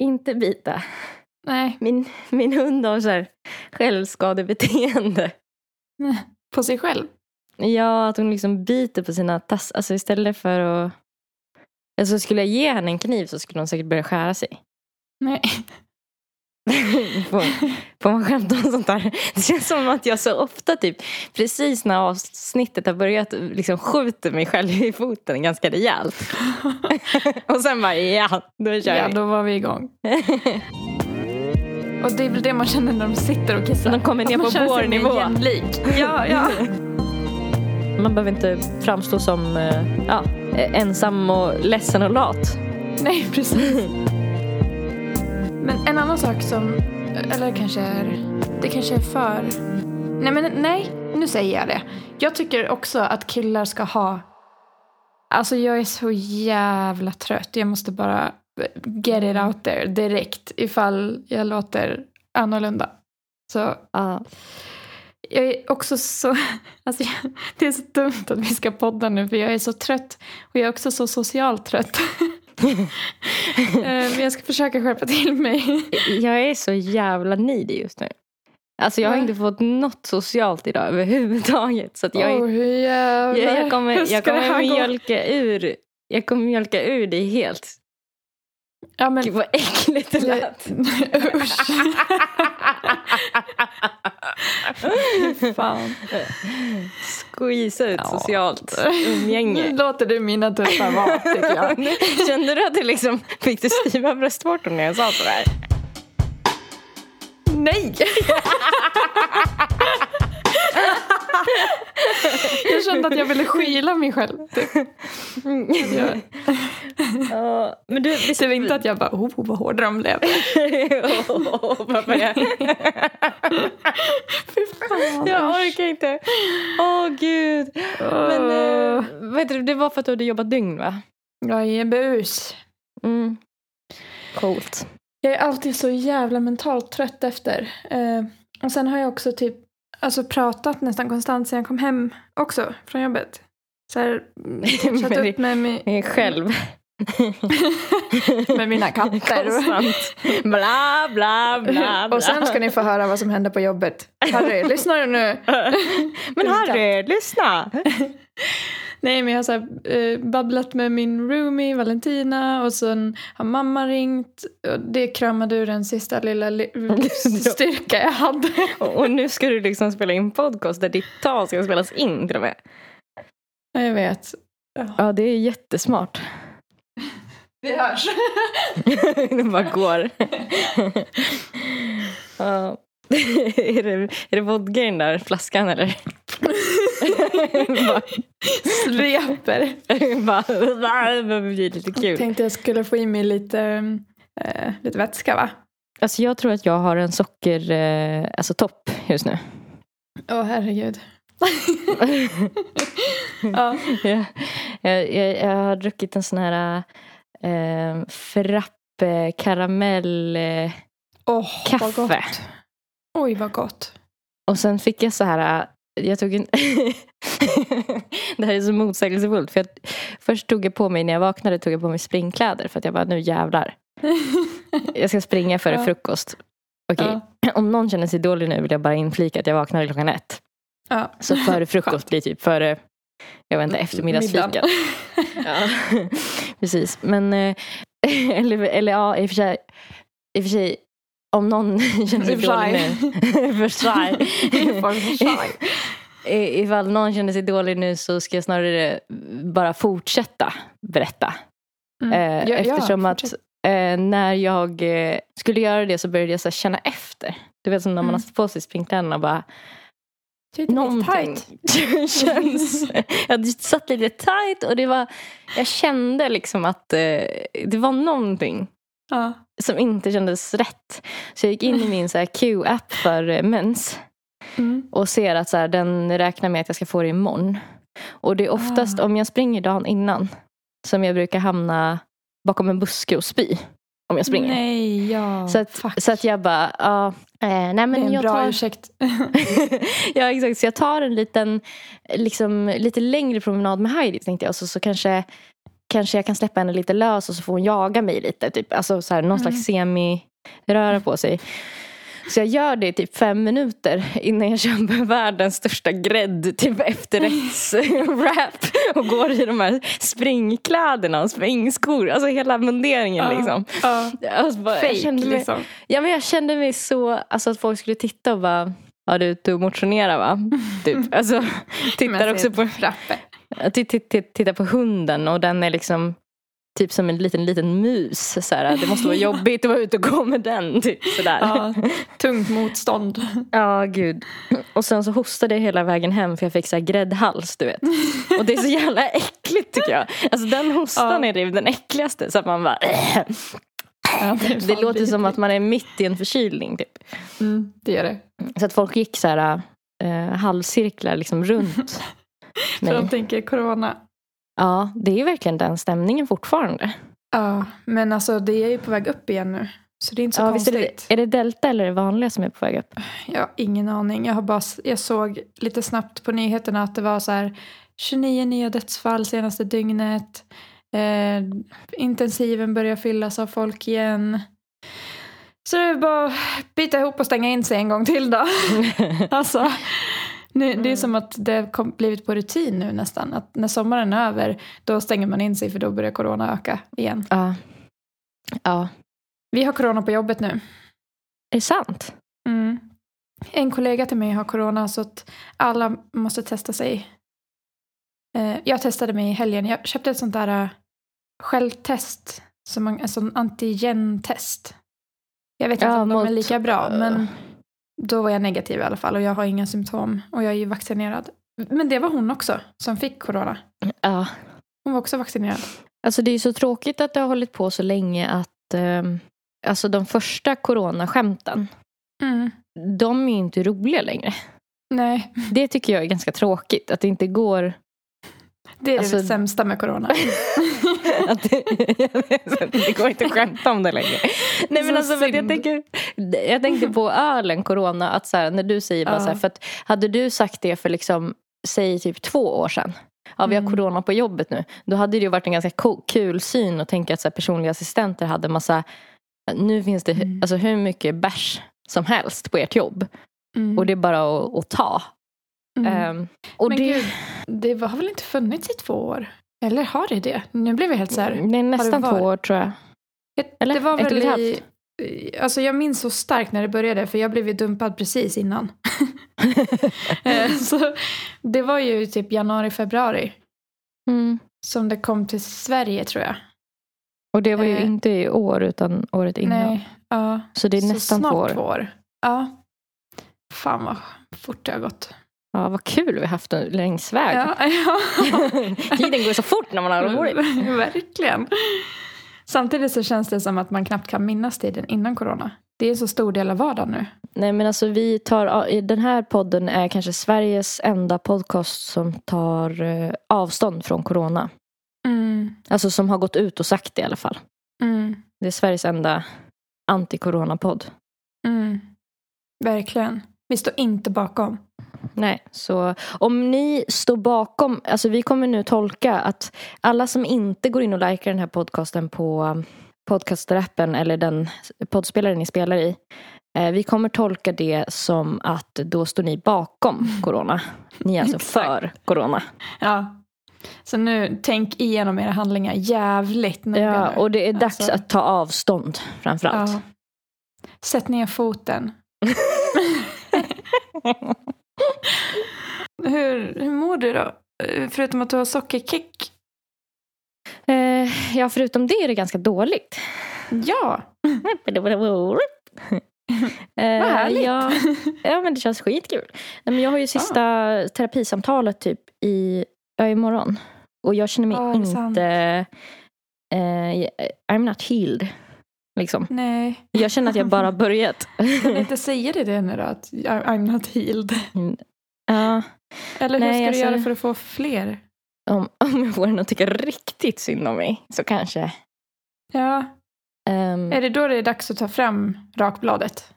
Inte bita. Nej, Min, min hund har så här självskadebeteende. på sig själv. Ja, att hon liksom biter på sina tassar. Alltså istället för att... Alltså skulle jag ge henne en kniv så skulle hon säkert börja skära sig. Nej. får, får man skämta om sånt där? Det känns som att jag så ofta typ precis när avsnittet har börjat liksom skjuter mig själv i foten ganska rejält. Och sen bara ja, då kör Ja, vi. då var vi igång. Och det är väl det man känner när de sitter och kissar. De kommer ner Att man på känner sig vår mer nivå. jämlik. Ja, ja. Man behöver inte framstå som eh, ja, ensam och ledsen och lat. Nej, precis. Men en annan sak som, eller kanske är, det kanske är för... Nej, men nej, nu säger jag det. Jag tycker också att killar ska ha... Alltså jag är så jävla trött. Jag måste bara get it out there direkt ifall jag låter annorlunda. Så Ja. jag är också så... Alltså jag, det är så dumt att vi ska podda nu för jag är så trött och jag är också så socialt trött. Eh, Men jag ska försöka skärpa till mig. Jag är så jävla needy just nu. Alltså jag har Ja. inte fått något socialt idag överhuvudtaget. Så att jag är Åh, hur jävlar. Jag, jag Hur kommer, ska jag det kommer här gå? mjölka ur. Jag kommer mjölka ur dig helt. Ja, men, Gud vad äckligt det jag- lät. Usch. Fan. Squeeza ut Ja. socialt Nu umgänge. låter du mina tuttar vara, tycker jag. Kände du att du liksom fick du styva bröstvårtor när jag sa sådär? Nej! jag kände att jag ville skyla mig själv. typ. Mm. Jag, Ja, men du, visst det var inte att jag bara, oh vad hårda de blev. Åh, vad var jag? Jag orkar inte. Åh gud. Men eh, vad heter det, det var för att du hade jobbat dygn va? Jag är bus. Mm. Coolt. Jag är alltid så jävla mentalt trött efter. Eh, och sen har jag också typ alltså pratat nästan konstant sen jag kom hem också från jobbet. Så här, typ satt Men upp med, mi- Eh, Själv. med mina katter. Konstant. Bla, bla, bla, bla. och sen ska ni få höra vad som hände på jobbet. Harry, lyssnar du nu? Men Harry, lyssna! Nej, men jag har så här, eh, babblat med min roomie Valentina och sen har mamma ringt. Och det kramade ur den sista lilla li- styrka jag hade. Och, och nu ska du liksom spela in podcast där ditt tal ska spelas in till och med. Ja, jag vet. Ja, det är jättesmart. Vi hörs. det bara går. Ja. är, det, är det vodka i den där flaskan eller? bara, Sveper. bara, det blir lite kul. Tänkte jag skulle få i mig lite, eh, lite vätska va? Alltså jag tror att jag har en socker, eh, alltså topp just nu. Åh herregud. ja. jag, jag, jag, jag har druckit en sån här eh, frappe karamell eh, Åh, vad kaffe. gott. Oj vad gott. Och sen fick jag så här, eh, jag tog en... det här är så motsägelsefullt. För jag, först tog jag på mig, när jag vaknade, tog jag på mig springkläder. För att jag bara, nu jävlar. Jag ska springa före Ja. frukost. Okej, Ja. om någon känner sig dålig nu vill jag bara inflika att jag vaknade klockan ett. Ja. Så före frukost blir typ före, jag vet inte, Mm, eftermiddagsfika. Middagen. Ja, precis. Men, eh, eller, eller ja, i och för sig. I och för sig om någon känner sig I och för dålig sig. nu. för sig. For shy. I- Ifall någon känner sig dålig nu så ska jag snarare bara fortsätta berätta. Eh, Mm. Ja, ja, eftersom att fortsätt. eh, när jag eh, skulle göra det så började jag så här, känna efter. Du vet som när man Mm. har satt på sig springkläderna och bara Titta, det är någonting tajt. känns... Jag satt lite tight och det var... Jag kände liksom att eh, det var någonting Ja. som inte kändes rätt. Så jag gick in i min så här Q-app för eh, mens Mm. och ser att så här, den räknar med att jag ska få det imorgon. Och det är oftast Ah. om jag springer dagen innan som jag brukar hamna bakom en buske och spy. Om jag springer. Nej, ja. Så att, Fuck. så att jag bara, ja. eh, nej det är men en jag bra tar ursäkt. ja exakt, så jag tar en liten, liksom, lite längre promenad med Heidi tänkte jag. Och så, så kanske, kanske jag kan släppa henne lite lös och så får hon jaga mig lite. Typ. Alltså så här, någon slags Mm. semi-röra på sig. Så jag gör det i typ fem minuter innan jag köper världens största grädd, typ efterrättswrap och går i de här springkläderna och springskor. Alltså hela munderingen liksom. Ja. Alltså, bara, jag Fake kände mig, liksom. Ja men jag kände mig så, alltså att folk skulle titta och bara Ja du är ute och motionerar va? Typ. Alltså, tittar också på, frappe. t- t- t- tittar på hunden och den är liksom typ som en liten liten mus. Så här. Det måste vara jobbigt att vara ute och gå med den. Typ, sådär. Ja, tungt motstånd. Ja, gud. Och sen så hostade jag hela vägen hem för jag fick så här gräddhals, du vet. Och det är så jävla äckligt tycker jag. Alltså den hostan Ja. är det- den äckligaste. Så att man bara... Ja, är typ- Det fan låter som vidrigt. att man är mitt i en förkylning typ. Mm, det gör det. Så att folk gick så här eh, halvcirklar liksom runt För de mig. tänker corona. Ja, det är ju verkligen den stämningen fortfarande. Ja, men alltså det är ju på väg upp igen nu. Så det är inte så ja, visst är, konstigt. det, är det delta eller det vanliga som är på väg upp? Jag har ingen aning. Jag, har bara, jag såg lite snabbt på nyheterna att det var så här 29 nya dödsfall senaste dygnet. Eh, intensiven börjar fyllas av folk igen. Så det är bara att bita ihop och stänga in sig en gång till då. alltså, nu, Det Mm. är som att det har kom- blivit på rutin nu nästan. Att när sommaren är över då stänger man in sig för då börjar corona öka igen. Ja. Ja, Vi har corona på jobbet nu. är det sant? Mm. En kollega till mig har corona så att alla måste testa sig. Eh, jag testade mig i helgen. Jag köpte ett sånt där eh, självtest. Som man, en sån antigentest. Jag vet inte Ja, om de mot- är lika bra men då var jag negativ i alla fall och jag har inga symptom och jag är ju vaccinerad. Men det var hon också som fick corona. Ja. Hon var också vaccinerad. Alltså det är ju så tråkigt att det har hållit på så länge att ehm, alltså de första coronaskämten, Mm. de är ju inte roliga längre. Nej, Det tycker jag är ganska tråkigt, att det inte går det är Alltså- det sämsta med corona. att det, det går inte att skämta om det längre. Nej, men Så alltså, för att jag, synd. tänker, jag tänkte på ölen, corona, att så här, när du säger bara Ja. så här, för att hade du sagt det för liksom, säg typ två år sedan, ja vi har Mm. corona på jobbet nu, då hade det ju varit en ganska ko- kul syn att tänka att så här, personliga assistenter hade massa, nu finns det hu- Mm. alltså, hur mycket bärs som helst på ert jobb Mm. och det är bara att, att ta. Mm. Ehm, och men det, gud, det var- har väl inte funnits i två år? Eller har det det? Nu blev jag helt så här. det är nästan varit? två år tror jag. Det- Mm. Eller? Det var Ett och väl ett i, alltså jag minns så starkt när det började för jag blev ju dumpad precis innan. Eh, så det var ju typ januari, februari Mm. som det kom till Sverige tror jag. Och det var ju Eh. inte i år utan året innan. Nej, ja. Så det är så nästan snart två år. Ja. Fan vad fort det har gått. Ja, vad kul vi haft en- längs väg. Ja, ja. Tiden går så fort när man har Mm. roligt. Verkligen. Samtidigt så känns det som att man knappt kan minnas tiden innan corona. Det är en så stor del av vardagen nu. Nej men alltså vi tar, ja, i den här podden är kanske Sveriges enda podcast som tar eh, avstånd från corona. Mm, Alltså som har gått ut och sagt det i alla fall. mm, Det är Sveriges enda anti-corona-podd. mm. Verkligen. Vi står inte bakom. Nej, så om ni står bakom, alltså vi kommer nu tolka att alla som inte går in och likar den här podcasten på um, podcasterappen eller den poddspelare ni spelar i, eh, vi kommer tolka det som att då står ni bakom Mm. corona. Ni är alltså för corona. Ja. Så nu, tänk igenom era handlingar jävligt noga Ja, nu. och det är dags Alltså. att ta avstånd framförallt. Ja. Sätt ner foten. hur, hur mår du då? Eh, Förutom att du har sockerkick. Eh, ja, förutom det är det ganska dåligt. Ja, Eh, vad härligt. Ah. ja. Ja men det känns skitkul. Nej, men jag har ju sista terapisamtalet typ i, ja, imorgon. Och jag känner mig Ja, Ah, det är sant. inte, eh, I'm not healed. Liksom. Nej. Jag känner att jag bara har börjat. Kan inte säga det det nu då? Att I- I'm not healed. Ja, Eller hur Nej, ska alltså- du göra för att få fler? om, om jag får någon att tycka riktigt synd om mig så kanske. Ja, ehm, är det då det är dags att ta fram rakbladet?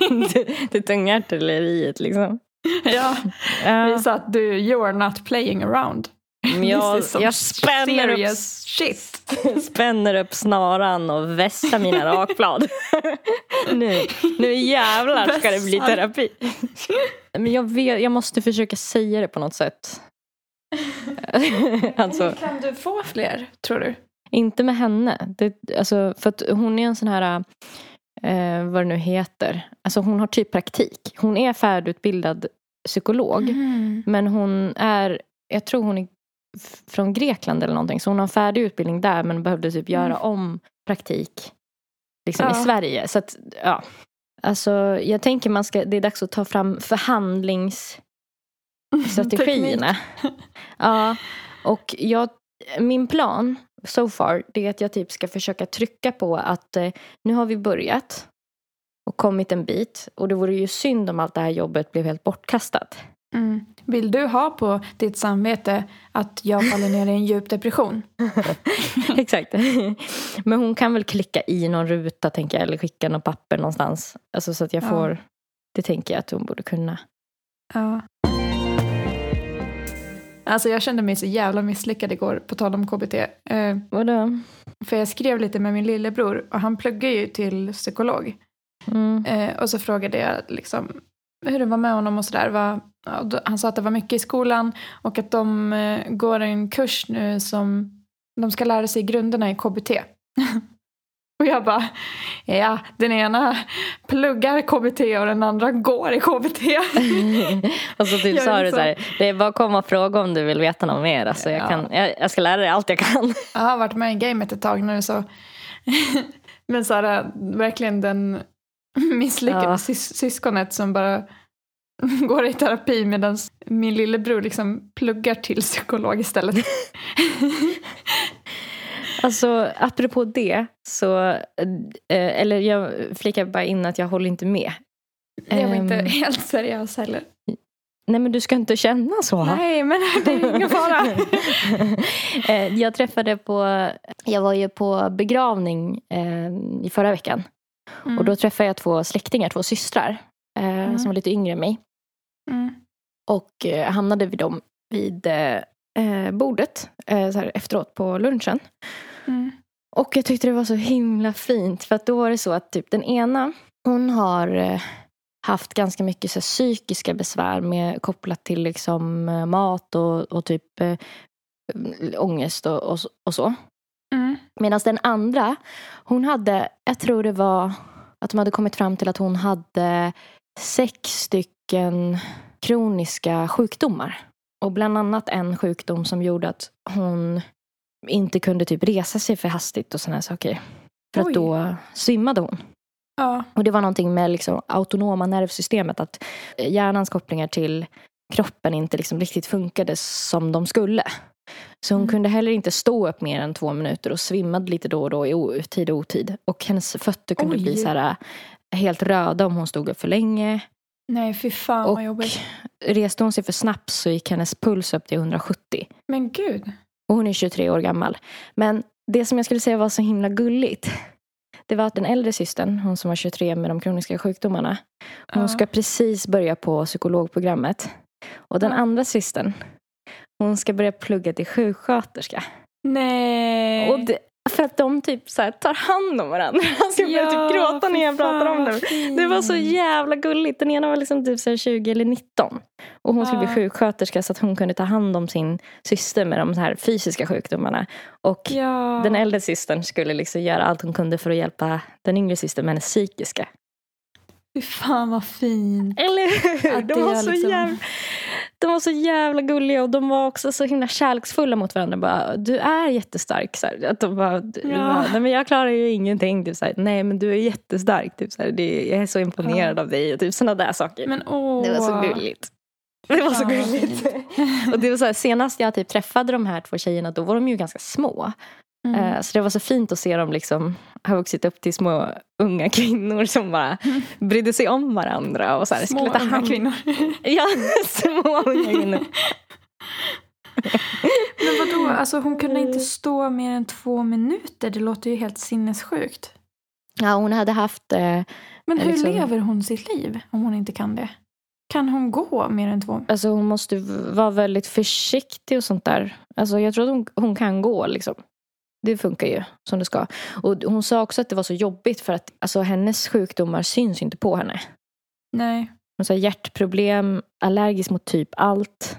det, det tunga artilleriet liksom. Ja, Ja. visa att du, you're not playing around. Men jag, This is some jag spänner, upp, serious shit. spänner upp snaran och vässar mina rakblad. nu, nu jävlar ska det bli Vässar. terapi. Men jag, vet, jag måste försöka säga det på något sätt. alltså, Kan du få fler, tror du? inte med henne. Det, alltså, för att hon är en sån här, eh, vad det nu heter, alltså hon har typ praktik. Hon är färdigutbildad psykolog. Mm. Men hon är, jag tror hon är f- från Grekland eller någonting. Så hon har en färdig utbildning där men behövde typ göra Mm. om praktik liksom, Ja. i Sverige. Så att, ja. Alltså, jag tänker man ska, det är dags att ta fram förhandlingsstrategierna. ja, och jag, min plan so far det är att jag typ ska försöka trycka på att eh, nu har vi börjat och kommit en bit och det vore ju synd om allt det här jobbet blev helt bortkastat. Mm. Vill du ha på ditt samvete att jag faller ner i en djup depression? Exakt. Men hon kan väl klicka i någon ruta tänker jag, eller skicka något papper någonstans. Alltså så att jag Ja. får, det tänker jag att hon borde kunna. Ja. Alltså jag kände mig så jävla misslyckad igår, på tal om KBT. Eh, Vadå? för jag skrev lite med min lillebror och han pluggar ju till psykolog. Mm. Eh, och så frågade jag liksom hur det var med honom och sådär. Vad- ja, då- Han sa att det var mycket i skolan och att de eh, går en kurs nu som de ska lära sig grunderna i KBT. och jag bara, ja, den ena pluggar KBT och den andra går i KBT. och så typ Jag sa är du så så- här, det är bara att komma och fråga om du vill veta något mer. Alltså, jag, Ja. kan, jag, jag ska lära dig allt jag kan. jag har varit med i gamet ett tag nu så. Men Sara, verkligen den misslyckade Ja. sys- syskonet som bara går i terapi medan min lillebror liksom pluggar till psykolog istället. Alltså, apropå det, så, eh, eller jag flikar bara in att jag håller inte med. Jag var Ehm. inte helt seriös heller. Nej men du ska inte känna så. Nej, men det är ingen fara. Eh, jag träffade på, jag var ju på begravning eh, i förra veckan. Mm, Och då träffade jag två släktingar, två systrar. Eh, Som var lite yngre än mig. mm, Och eh, hamnade vid dem vid eh, eh, bordet. Eh, så här, efteråt på lunchen. mm, Och jag tyckte det var så himla fint. För att då var det så att typ den ena, hon har eh, haft ganska mycket så här, psykiska besvär med, kopplat till liksom, eh, mat och, och typ eh, ångest och, och, så- och så. mm, Medan den andra, hon hade, jag tror det var att de hade kommit fram till att hon hade sex stycken kroniska sjukdomar. Och bland annat en sjukdom som gjorde att hon inte kunde typ resa sig för hastigt och sådana här saker. För Oj. att då svimmade hon. ja, Och det var någonting med liksom autonoma nervsystemet, att hjärnans kopplingar till kroppen inte liksom riktigt funkade som de skulle. Så hon Mm. kunde heller inte stå upp mer än två minuter och svimmade lite då och då i o- tid och otid. Och hennes fötter kunde Oj. bli så här äh, helt röda om hon stod upp för länge. nej fy fan och vad jobbigt. reste hon sig för snabbt så gick hennes puls upp till 170. Men gud. Och hon är 23 år gammal. Men det som jag skulle säga var så himla gulligt. Det var att den äldre systern, hon som var 23 med de kroniska sjukdomarna. Hon Ja. ska precis börja på psykologprogrammet. Och den Ja. andra systern, hon ska börja plugga till sjuksköterska. Nej. Och det, för att de typ så här tar hand om varandra. Alltså jag börjar typ gråta när fy jag pratar fan, om vad det. Det var så fint. jävla gulligt. Den ena var liksom typ så här 20 eller 19. Och hon skulle Ja. bli sjuksköterska så att hon kunde ta hand om sin syster med de så här fysiska sjukdomarna. Och Ja. den äldre systern skulle liksom göra allt hon kunde för att hjälpa den yngre systern med hennes psykiska. Fy fan vad fint. Eller hur? Att De det var, är så liksom- jävla, de var så jävla gulliga och de var också så himla kärleksfulla mot varandra. Bara, du är jättestark. Så här. Att de bara, du- Ja. bara, Nej, men jag klarar ju ingenting. Typ, så här. Nej men du är jättestark. Typ, så här. Det, jag är så imponerad av dig. Typ, sådana där saker. Men åh. Det var så gulligt. Det var så Fan, vad gulligt. Och det var så här, senast jag typ träffade de här två tjejerna, då var de ju ganska små. Mm. Eh, Så det var så fint att se dem liksom, ha vuxit upp till små unga kvinnor som bara brydde sig om varandra. Och så här, Mm. Små skulle ta unga hand- kvinnor. Ja, små unga kvinnor. Men vadå, alltså hon kunde inte stå mer än två minuter. Det låter ju helt sinnessjukt. Ja, hon hade haft... Eh, Men hur Liksom- lever hon sitt liv om hon inte kan det? kan hon gå mer än två? Alltså hon måste v- vara väldigt försiktig och sånt där. Alltså jag tror att hon, hon kan gå liksom. Det funkar ju som det ska. Och hon sa också att det var så jobbigt för att alltså, hennes sjukdomar syns inte på henne. Nej. Hon sa hjärtproblem, allergisk mot typ allt.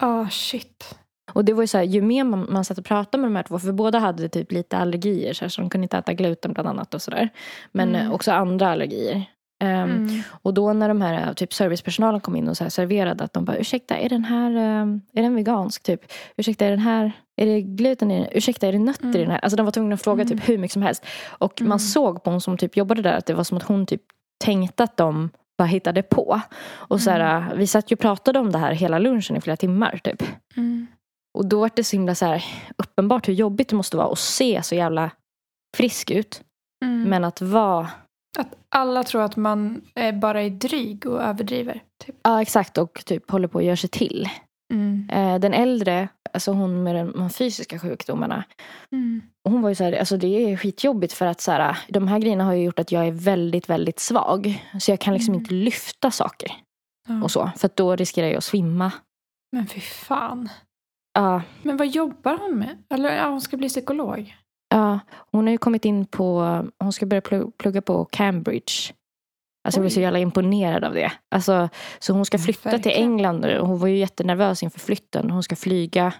Ah, shit. Och det var ju så här, ju mer man, man satt och pratade med de här två, för båda hade typ lite allergier, så, här, så de kunde inte äta gluten bland annat och sådär. Men Mm. eh, också andra allergier. Ehm, Mm. Och då när de här eh, typ servicepersonalen kom in och så här serverade att de bara ursäkta är den här eh, är den vegansk typ? Ursäkta är den här är det gluten i den? Ursäkta är det nötter i den här? Alltså de var tvungna att fråga Mm. typ hur mycket som helst. Och Mm. man såg på hon som typ jobbade där att det var som att hon typ tänkte att de bara hittade på. Och så här, eh, vi satt ju och pratade om det här hela lunchen i flera timmar typ. Mm. Och då var det så himla så här uppenbart hur jobbigt det måste vara att se så jävla frisk ut. Mm. Men att vara Att alla tror att man eh, bara är dryg och överdriver. Typ. Ja exakt och typ håller på att göra sig till. Mm. Eh, den äldre, alltså hon med de, de fysiska sjukdomarna. Mm. Hon var ju så här, alltså det är skitjobbigt för att så här, de här grejerna har ju gjort att jag är väldigt, väldigt svag. Så jag kan liksom Mm. inte lyfta saker Ja. och så. För att då riskerar jag att svimma. Men fy fan. Ja, Men vad jobbar hon med? Eller ja, hon ska bli psykolog. ja. hon har ju kommit in på, hon ska börja plu- plugga på Cambridge. Alltså jag blir Oj. så jävla imponerad av det. Alltså, så hon ska Ja, flytta till verkligen. England nu. Hon var ju jättenervös inför flytten. Hon ska flyga.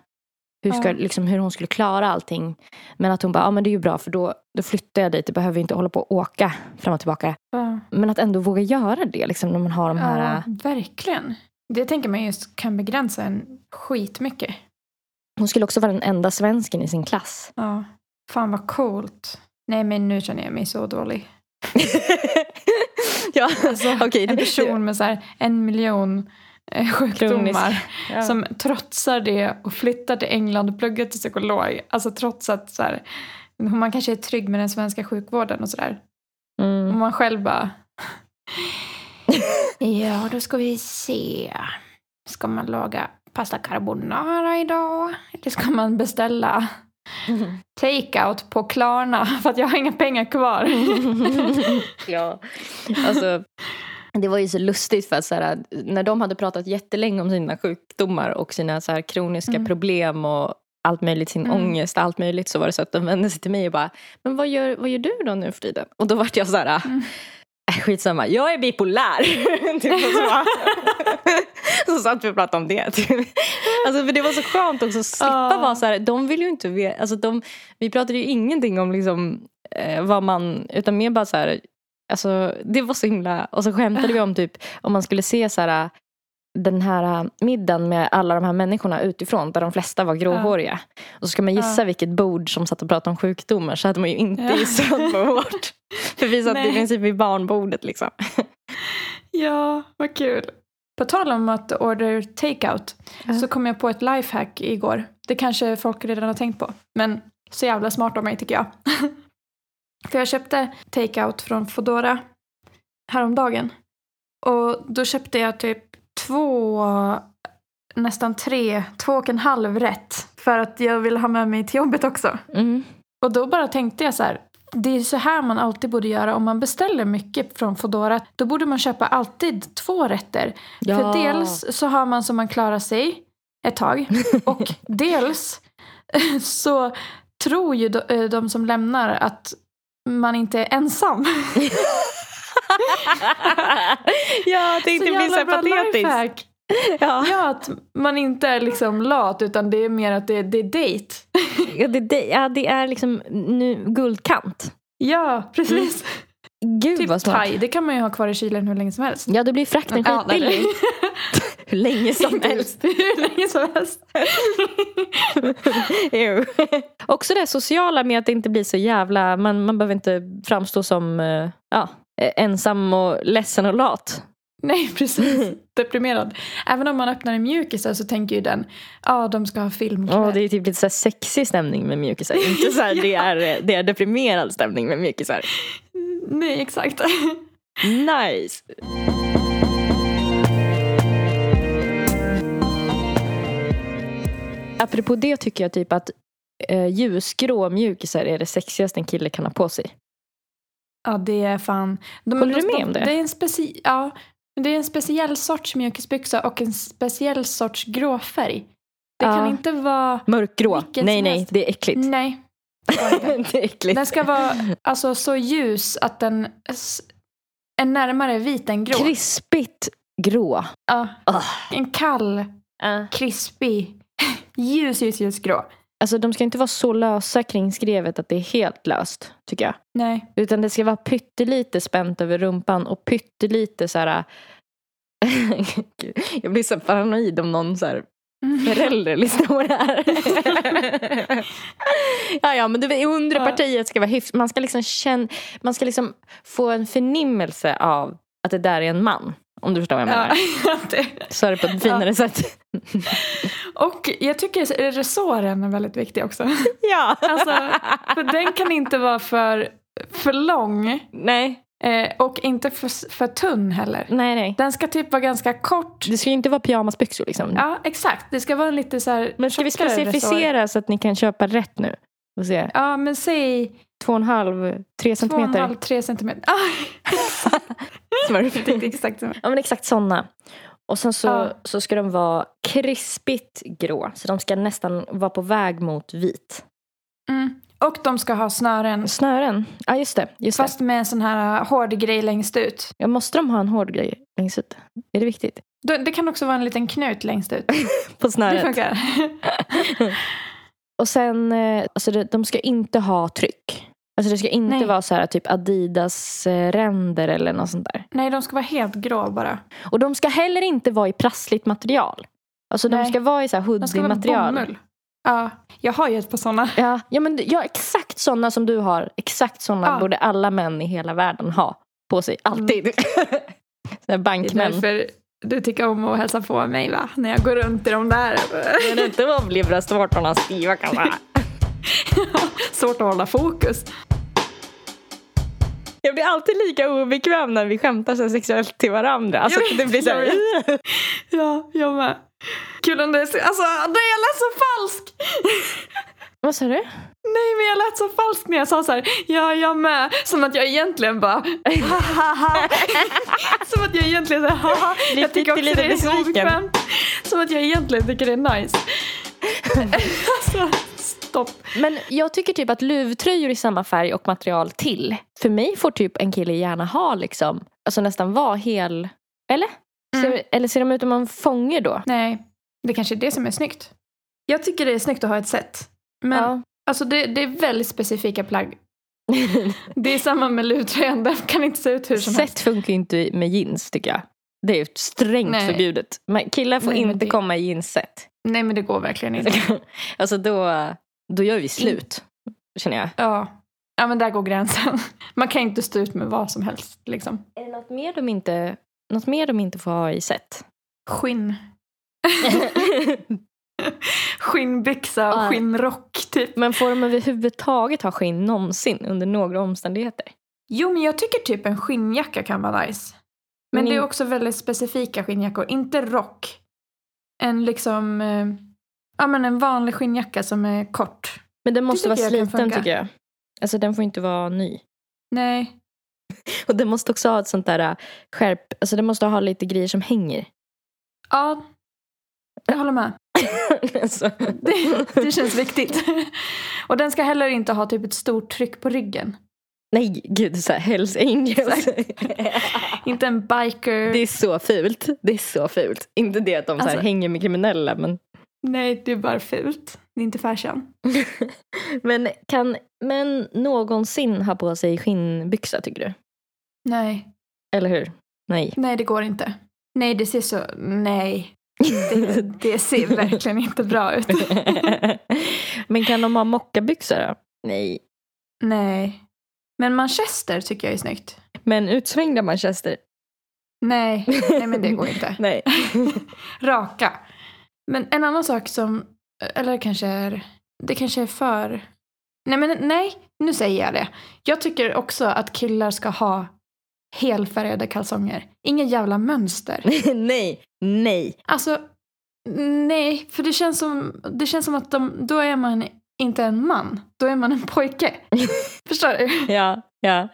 Hur, ska, Ja. liksom, hur hon skulle klara allting. Men att hon bara, ja ah, men det är ju bra för då, då flyttar jag dit. Jag behöver inte hålla på och åka fram och tillbaka. Ja, Men att ändå våga göra det liksom när man har de här. ja verkligen. Det tänker man just kan begränsa en skitmycket. Hon skulle också vara den enda svensken i sin klass. Ja. Fan vad coolt. Nej men nu känner jag mig så dålig. ja, Alltså, okej. En det- person med så här en miljon eh, sjukdomar ja. som trotsar det och flyttar till England och pluggar till psykolog. Alltså trots att så här, man kanske är trygg med den svenska sjukvården och sådär. Och Mm. man själv bara... ja, då ska vi se. Ska man laga pasta carbonara idag? Eller ska man beställa take-out på Klarna? För att jag har inga pengar kvar. ja, alltså. Det var ju så lustigt för att så här, när de hade pratat jättelänge om sina sjukdomar och sina så här, kroniska Mm. problem och allt möjligt, sin Mm. ångest, allt möjligt så var det så att de vände sig till mig och bara Men vad gör, vad gör du då nu för tiden? Och då vart jag så här Mm. "Äh, Skitsamma, jag är bipolär! typ så. så satt vi och pratade om det. typ. alltså, för det var så skönt också att slippa Ah. vara så här, de vill ju inte veta, alltså, de, vi pratade ju ingenting om liksom, eh, vad man, utan mer bara så här, alltså, det var så himla, och så skämtade vi om typ om man skulle se så här, äh, den här eh, middagen med alla de här människorna utifrån där de flesta var gråhåriga. Och så ska man gissa Ja. vilket bord som satt och pratade om sjukdomar så hade man ju inte Ja. gissat på vårt. För vi satt Nej. i princip vid barnbordet liksom. ja, vad kul. På tal om att order take-out Ja. så kom jag på ett lifehack igår. Det kanske folk redan har tänkt på. Men så jävla smart av mig tycker jag. För jag köpte take-out från Foodora häromdagen. Och då köpte jag typ två, nästan tre, två och en halv rätt. För att jag ville ha med mig till jobbet också. Mm. Och då bara tänkte jag så här. Det är så här man alltid borde göra om man beställer mycket från Foodora. Då borde man köpa alltid två rätter. För dels så har man så man klarar sig ett tag. Och dels så tror ju de, eh, de som lämnar att man inte är ensam. ja, Så tänkte det blir jävla så här bra patetiskt. lifehack. Ja. Ja, att man inte är liksom lat utan det är mer att det, det är dejt. Ja, det, det, ja, det är liksom nu, guldkant. Ja, precis. Mm. Gud vad Typ smart. thai, det kan man ju ha kvar i kylen hur länge som helst. Ja, då blir frakten Ja, nej, skitbillig. Hur länge som Inte helst. Typ. Hur länge som helst. Ew. Också det sociala med att det inte blir så jävla... Man, man behöver inte framstå som eh, ja, eh, ensam och ledsen och lat. Nej, precis. Mm. Deprimerad. Även om man öppnar en mjukis så tänker ju den, ja de ska ha filmkväll. Och det är typ lite så här sexig stämning med mjukisar. Inte så här, det, är, eh, det är deprimerad stämning med mjukisar. Mm, Nej, exakt. Nice! Apropå det tycker jag typ att eh, ljusgrå mjukisar är det sexigaste en kille kan ha på sig. ja, det är fan. De, Håller de, du med de, om det? Det är en speci... Ja, Men det är en speciell sorts mjukisbyxa och en speciell sorts grå färg. Det Ja. kan inte vara... Mörkgrå. Vilket Nej, som nej, helst. det är äckligt. Nej. det var det inte. det är äckligt. Den ska vara alltså, så ljus att den s- är närmare vit än grå. Krispigt grå. Ja. Ugh. En kall, krispig, ljus, ljus, ljus grå. Alltså de ska inte vara så lösa kring skrevet att det är helt löst, tycker jag. Nej. Utan det ska vara pyttelite spänt över rumpan och pyttelite så här... Gud, jag blir så paranoid om någon så här Mm. förälder lyssnar på det här. ja, ja, men du vet, undre Ja. partiet ska vara hyfsat. Man ska liksom känna, man ska liksom få en förnimmelse av att det där är en man. Om du förstår vad jag menar. Ja, det. Så är det på ett finare sätt. Och jag tycker resåren är väldigt viktig också. ja. Alltså, för den kan inte vara för, för lång Nej, eh, och inte för, för tunn heller. nej, nej. Den ska typ vara ganska kort. Det ska ju inte vara pyjamasbyxor liksom. Ja, exakt. Det ska vara en lite så här men ska vi tjockare resår. specificera så att ni kan köpa rätt nu? Och se. Ja, men säg Två och en halv, tre centimeter. 2,5-3 centimeter. Ah, det är Smurf. exakt som. ja men exakt sådana. Och sen så, Ja. så ska de vara krispigt grå. Så de ska nästan vara på väg mot vit. Mm. Och de ska ha snören. Snören, ja just det. Just det. Fast med en sån här eh, hård grej längst ut. Ja, måste de ha en hård grej längst ut? Är det viktigt? Då- Det kan också vara en liten knut längst ut. På Det snöret. funkar. Och sen, eh, alltså det- de ska inte ha tryck. Alltså det ska inte Nej. vara så här typ Adidas-ränder eller något sånt där. Nej, de ska vara helt grå bara. Och de ska heller inte vara i prassligt material. Alltså de Nej. ska vara i så här De ska vara hoodie-material. bomull. Ja, jag har ju ett par såna. Ja, ja, men, ja, exakt sådana som du har. Exakt sådana Ja. borde alla män i hela världen ha på sig. Alltid. Såna här Det är bankmän. därför du tycker om att hälsa på mig va? När jag går runt i de där. Men det inte vad blir bröstvårtorna stiva kan vara. Svårt att hålla fokus. Jag blir alltid lika obekväm när vi skämtar så här sexuellt till varandra. Alltså, Jag vet, det blir så här, Ja, jag med. Kul om det är... Alltså, nej jag lät så falsk! Vad sa du? Nej men jag lät så falsk när jag sa så här. ja jag med. Som att jag egentligen bara, hahaha. Som att jag egentligen så här, haha. Blir Jag tycker också pyttelite det är så besviken. obekvämt. Som att jag egentligen tycker det är nice. Alltså, stopp. Men jag tycker typ att luvtröjor i samma färg och material till. För mig får typ en kille gärna ha liksom, alltså nästan vara hel. Eller? Mm. Ser, eller ser de ut om man fånge då? Nej, det kanske är det som är snyggt. Jag tycker det är snyggt att ha ett set. Men Ja. alltså det, det är väldigt specifika plagg. Det är samma med luvtröjan, den kan inte se ut hur som helst. Sätt funkar ju inte med jeans tycker jag. Det är ju strängt Nej. förbjudet. Men killar får Nej, men inte det- komma i jeansset. Nej men det går verkligen inte. alltså då, då gör vi slut. Känner jag. Ja. ja, men där går gränsen. Man kan inte stå ut med vad som helst liksom. Är det något mer de inte, något mer de inte får ha i set? Skinn. Skinnbyxa och Ja. skinnrock typ. Men får de överhuvudtaget ha skinn någonsin under några omständigheter? Jo men jag tycker typ en skinnjacka kan vara nice. Men Men det är in- också väldigt specifika skinnjackor, inte rock. En liksom, eh, ja men en vanlig skinnjacka som är kort. Men den måste tycker vara jag kan sliten funka. tycker jag. Alltså den får inte vara ny. Nej, Och den måste också ha ett sånt där äh, skärp, alltså den måste ha lite grejer som hänger. ja. Jag håller med. alltså. Det, det känns viktigt. Och den ska heller inte ha typ ett stort tryck på ryggen. Nej, gud, så här, Hells Angels. Inte en biker. det är så fult. Det är så fult. Inte det att de så här, Alltså- hänger med kriminella, men... Nej, det är bara fult. Det är inte fashion. Men kan män någonsin ha på sig skinnbyxa, tycker du? Nej, Eller hur? Nej. nej det går inte. Nej, det ser så... Nej. Det, det ser verkligen inte bra ut. men kan de ha mockabyxor då? Nej. Nej. Men manchester tycker jag är snyggt. Men utsvängda manchester? Nej, nej men det går inte. Nej. Raka. Men en annan sak som... Eller kanske är... Det kanske är för... Nej, men nej. Nu säger jag det. Jag tycker också att killar ska ha helfärgade kalsonger. Inga jävla mönster. nej, nej. Alltså, nej, för det känns som, det känns som att de, då är man inte en man, då är man en pojke. Förstår du? Ja, Ja.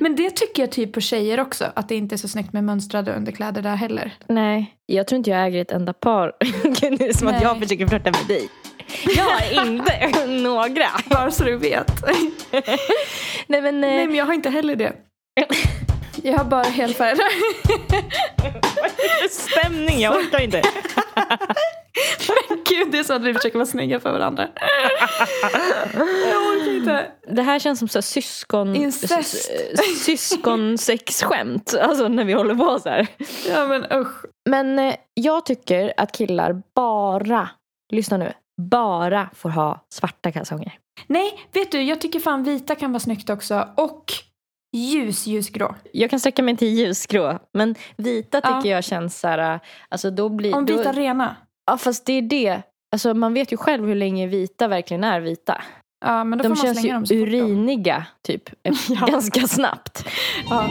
Men det tycker jag typ på tjejer också, att det inte är så snyggt med mönstrade underkläder där heller. Nej, jag tror inte jag äger ett enda par. Gud, nu är det som att Nej. jag försöker flörta med dig. Jag har inte några. Bara så du vet. Nej men, Nej eh, men jag har inte heller det. Jag har bara helfärgade. stämning, jag orkar inte. Men gud, det är så att vi försöker vara snygga för varandra. Jag orkar inte. Det här känns som så här syskon, Incest. sys- syskonsexskämt. Alltså när vi håller på så här. Ja men usch. Men eh, jag tycker att killar bara, lyssna nu, bara får ha svarta kalsonger. Nej, vet du, jag tycker fan vita kan vara snyggt också. Och ljus, ljusgrå. Jag kan sträcka mig till ljusgrå, men vita Ja. tycker jag känns så här, alltså då blir... Om vita då, rena. ja fast det är det. Alltså man vet ju själv hur länge vita verkligen är vita. Ja, men då De får man känns slänga ju dem så fort de- uriniga typ, ganska snabbt. Ja.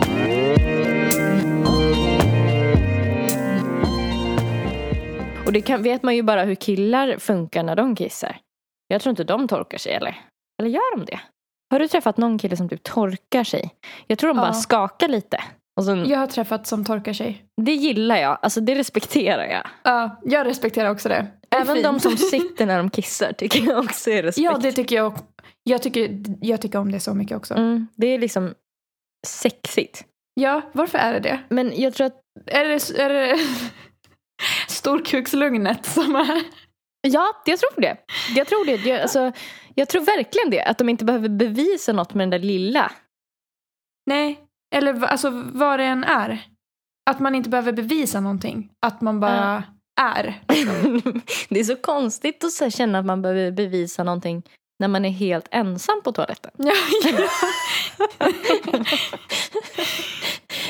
Och det kan, vet man ju bara hur killar funkar när de kissar. Jag tror inte de torkar sig eller? Eller gör de det? Har du träffat någon kille som typ torkar sig? Jag tror de bara Ja. skakar lite. Och sen, Jag har träffat som torkar sig. Det gillar jag, alltså det respekterar jag. Ja, jag respekterar också det. Det är Även de fint. som sitter när de kissar tycker jag också är respekt. Ja, det tycker jag. Jag tycker, jag tycker om det så mycket också. mm, det är liksom sexigt. Ja, varför är det det? Men jag tror att, Är det, är det storkukslugnet som är... ja jag tror det. Jag tror det, jag, alltså, jag tror verkligen det. Att de inte behöver bevisa något med den där lilla. Nej, eller v- alltså vad det än är. Att man inte behöver bevisa någonting. Att man bara är. det är så konstigt att så här känna att man behöver bevisa någonting när man är helt ensam på toaletten. Ja, ja.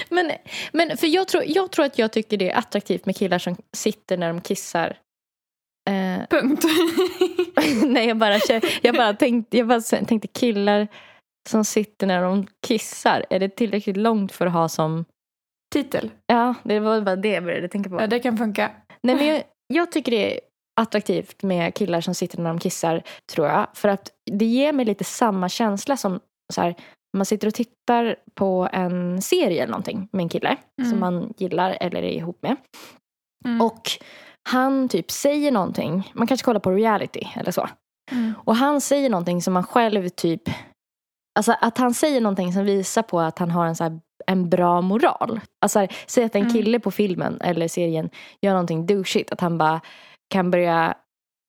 Men, men för jag tror, jag tror att jag tycker det är attraktivt med killar som sitter när de kissar. Eh, Punkt. nej, jag bara, kä- jag bara, tänkte, jag bara s- tänkte killar som sitter när de kissar. Är det tillräckligt långt för att ha som... Titel. Ja, det var bara det jag började tänka på. Ja, det kan funka. Nej, men jag, jag tycker det är attraktivt med killar som sitter när de kissar, tror jag. För att det ger mig lite samma känsla som så här, om man sitter och tittar på en serie eller någonting med en kille Mm. som man gillar eller är ihop med. Mm. Och han typ säger någonting, man kanske kollar på reality eller så. Mm. Och han säger någonting som man själv typ, alltså att han säger någonting som visar på att han har en, så här, en bra moral. Alltså här, säg att en Mm. kille på filmen eller serien gör någonting douchigt, att han bara kan börja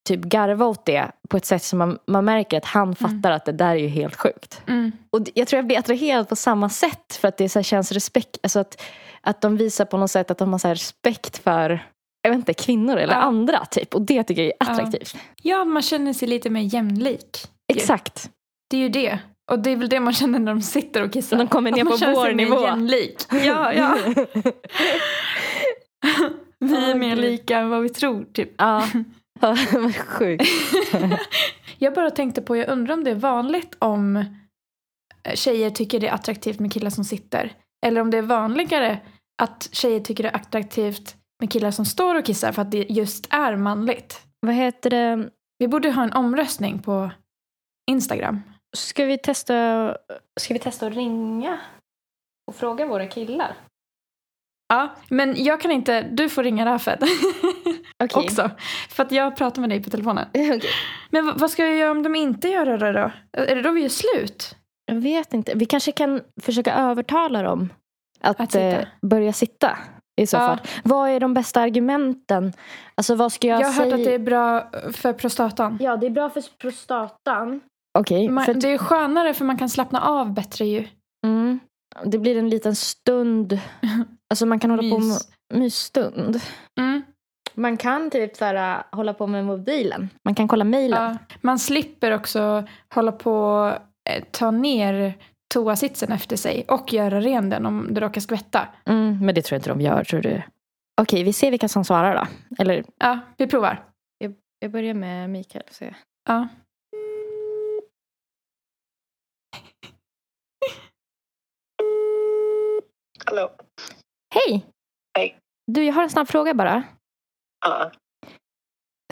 typ garva åt det på ett sätt som man, man märker att han fattar att det där är ju helt sjukt. Mm. Och d- jag tror jag blir attraherad på samma sätt för att det så här känns respekt, alltså att, att de visar på något sätt att de har så här respekt för jag vet inte, kvinnor eller Ja. andra typ. Och det tycker jag är Ja. attraktivt. ja, man känner sig lite mer jämlik. Exakt. Det är ju det. Och det är väl det man känner när de sitter och kissar. De kommer Att ner man på känner sig vår mer nivå. jämlik. Ja, ja. Vi är Åh, mer gud. lika än vad vi tror, typ. Ja, vad sjukt. Jag bara tänkte på, jag undrar om det är vanligt om eh, tjejer tycker det är attraktivt med killar som sitter. Eller om det är vanligare att tjejer tycker det är attraktivt med killar som står och kissar för att det just är manligt. Vad heter det? Vi borde ha en omröstning på Instagram. Ska vi testa, ska vi testa att ringa och fråga våra killar? Ja, men jag kan inte, du får ringa Rafed Okej. också. För att jag pratar med dig på telefonen. Okej. Men v- vad ska jag göra om de inte gör det då? Är det då vi gör slut? Jag vet inte. Vi kanske kan försöka övertala dem att, Att sitta. Eh, börja sitta. I så Ja. fall. Vad är de bästa argumenten? Alltså vad ska jag, Jag, har hört säga? att det är bra för prostatan. Ja, det är bra för prostatan. Okej. Man, för att- det är skönare för man kan slappna av bättre ju. Mm. Det blir en liten stund. Alltså man kan hålla på med Mys. mysstund. Mm, Man kan typ så här, äh, hålla på med mobilen. Man kan kolla mejlen. ja. Man slipper också hålla på och ta ner toasitsen efter sig och göra ren den om du råkar skvätta. Mm, men det tror jag inte de gör. Tror du? Okej, vi ser vilka som svarar då. Eller? Ja, vi provar. Jag börjar med Mikael. Så. Ja. Hallå. Hej! Hej. Du, jag har en snabb fråga bara. Ja.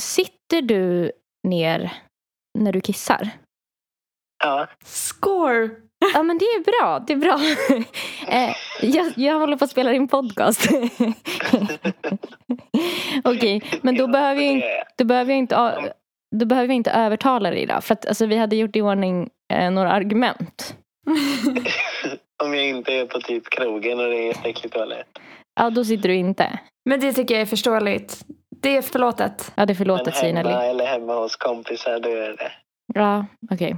Sitter du ner när du kissar? Ja. Score! Ja men det är bra, det är bra. Eh, jag, jag håller på att spela in podcast. Okej, men då Ja, behöver, jag, in- det- då, behöver jag inte, a- då behöver vi inte övertala dig idag. För att alltså, vi hade gjort i ordning eh, några argument. Om jag inte är på typ krogen och det är jätteäcklig toalett. Ja, då sitter du inte. Men det tycker jag är förståeligt. Det är förlåtet. Ja, det är Men förlåtet säger hemma Nelly. eller hemma hos kompisar, då är det. Ja, okej.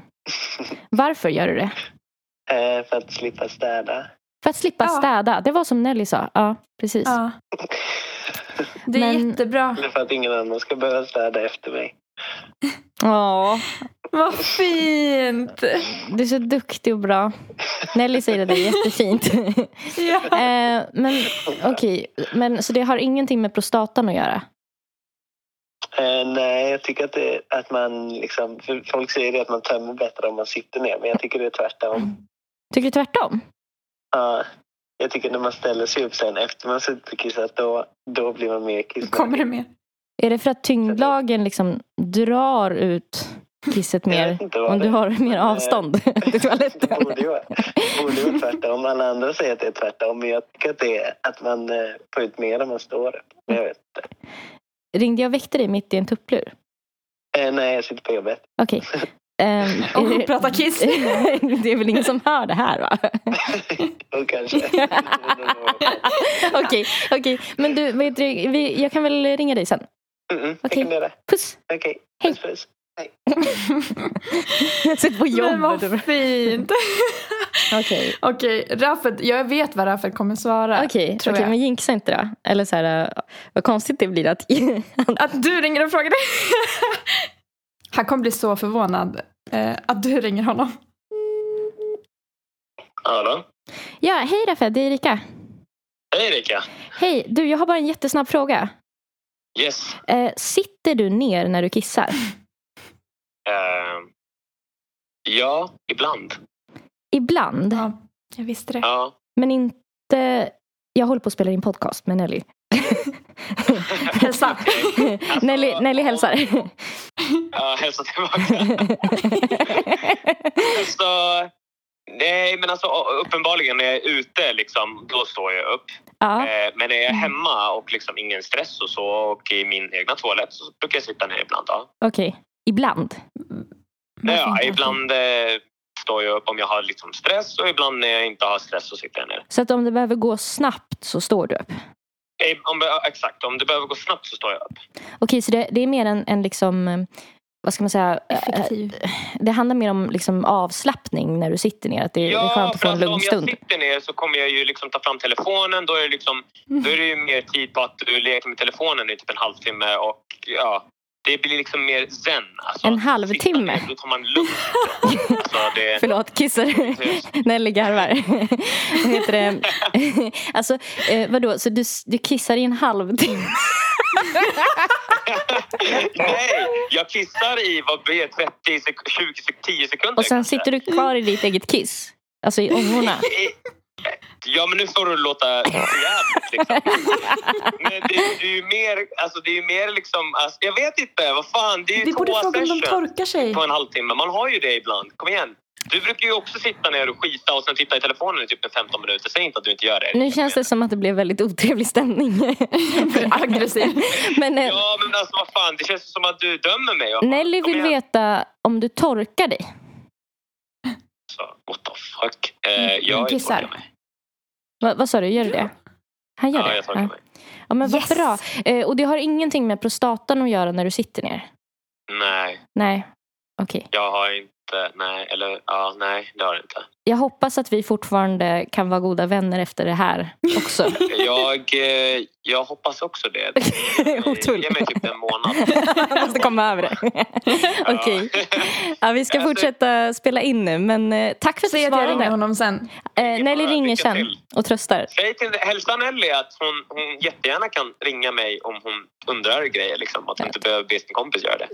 Varför gör du det? Eh, För att slippa städa. För att slippa Ja. städa. Det var som Nelly sa. Ja, precis. Ja. Det är Men- jättebra. Eller för att ingen annan ska behöva städa efter mig. Ja, Vad fint! du är så duktig och bra. Nelly säger att det är jättefint. Ja. Eh, men okej, men så det har ingenting med prostatan att göra? Eh, nej, jag tycker att, det, att man liksom... för Folk säger det att man tömmer bättre om man sitter ner, men jag tycker det är tvärtom. Tycker du tvärtom? Ja, jag tycker när man ställer sig upp sen efter man suttit och kissat, då, då blir man mer Kommer kissnödig. det med? Är det för att tyngdlagen liksom drar ut kisset Jag mer? vet inte vad Om det du är. har mer eh, avstånd till Det toaletten? borde ju vara det borde ju vara tvärtom. Alla andra säger att det är tvärtom, men jag tycker att det är att man eh, får ut mer om man står upp. Men Jag vet. inte. Ringde jag och väckte dig mitt i en tupplur? Eh, nej, jag sitter på jobbet. Okej. Ehm, är Och det- prata kiss. det är väl ingen som hör det här va? Och kanske... Okej, okej. Men du, vet du, vi, jag kan väl ringa dig sen? Mm, Okej. okay. Okej, Puss! okay. Hej. puss puss. Sitt på Men jobbet. vad fint! Okej, Okej, Raffet, jag vet vad Raffet kommer svara. okej. tror Okej, jag. men jinxa inte då. Eller så här, äh, vad konstigt det blir att... Att du ringer och frågar det. Han kommer bli så förvånad eh, att du ringer honom. Ja då. Ja, hej Raffe, det är Erika. Hej Erika. Hej, du jag har bara en jättesnabb fråga. Yes. Eh, sitter du ner när du kissar? Ehm, ja, ibland. Ibland, Ja, jag visste det. Ja. men inte... Jag håller på att spela in podcast med Nelly. Hälsa. Nelly, Nelly hälsar. Ja, hälsa tillbaka. alltså, nej, men alltså uppenbarligen när jag är ute, liksom, då står jag upp. ja, Mm. Eh, Men när jag är hemma och liksom ingen stress och så och i min egna toalett så brukar jag sitta ner ibland. Ja. okej. Ibland. Vad Ja, fint. ibland eh, står jag upp om jag har liksom stress och ibland när jag inte har stress så sitter jag ner. Så att om det behöver gå snabbt så står du upp? Eh, Om, ja, exakt, om det behöver gå snabbt så står jag upp. Okej, så det, det är mer en, en liksom... eh, Vad ska man säga? eh, Effektiv. Det handlar mer om liksom avslappning när du sitter ner. Att det, det är skönt att få för en alltså, lugn Om stund. jag sitter ner så kommer jag ju liksom ta fram telefonen. Då är, det liksom, Mm. då är det ju mer tid på att du leker med telefonen i typ en halvtimme och ja, det blir liksom mer zen. Alltså, En Att sitta halvtimme? ner, Då tar man lugnt. alltså, det, Förlåt, kissar Nelly garvar. Vad heter det? Alltså, eh, vadå, så du, du kissar i en halvtimme? nej, jag kissar i vad blir det, 30, sek- 20, sek- 10 sekunder. Och sen kanske. sitter du kvar i ditt eget kiss? Alltså i ångorna? Ja, men nu får du låta jävligt liksom. Men det, det är ju mer, alltså det är ju mer liksom, alltså, jag vet inte, vad fan, det är ju Vi borde tvåa fråga om de session torkar sig. på en halvtimme. Man har ju det ibland, kom igen. Du brukar ju också sitta ner och skita och sen titta i telefonen i typ en 15 minuter. Säg inte att du inte gör det. Nu känns det som att det blev väldigt otrevlig stämning. Aggressiv. Men eh, Ja, men alltså vad fan, det känns som att du dömer mig. Vad fan, Nelly kom vill igen. veta om du torkar dig. Så, Alltså, what the fuck. Mm, Eh, jag Mm, Kissar. torkar mig. Va, vad sa du, gör du det? Han gör Ja, det? jag torkar mig. ja men vad Yes! bra. Eh, och det har ingenting med prostatan att göra när du sitter ner? Nej, Nej, okej. jag har inte, nej, eller ja, nej, det har jag inte. Jag hoppas att vi fortfarande kan vara goda vänner efter det här också. Jag, eh, jag hoppas också det. Ge mig typ en månad. Jag måste komma över det. Okej. Ja, vi ska fortsätta spela in nu, men eh, tack för att Säg du att jag svarade. ringer honom sen. Eh, Nelly ringer Lycka sen till. och tröstar. Säg till, hälsa Nelly att hon, hon jättegärna kan ringa mig om hon undrar grejer. Liksom, att hon inte behöver be sin kompis göra det.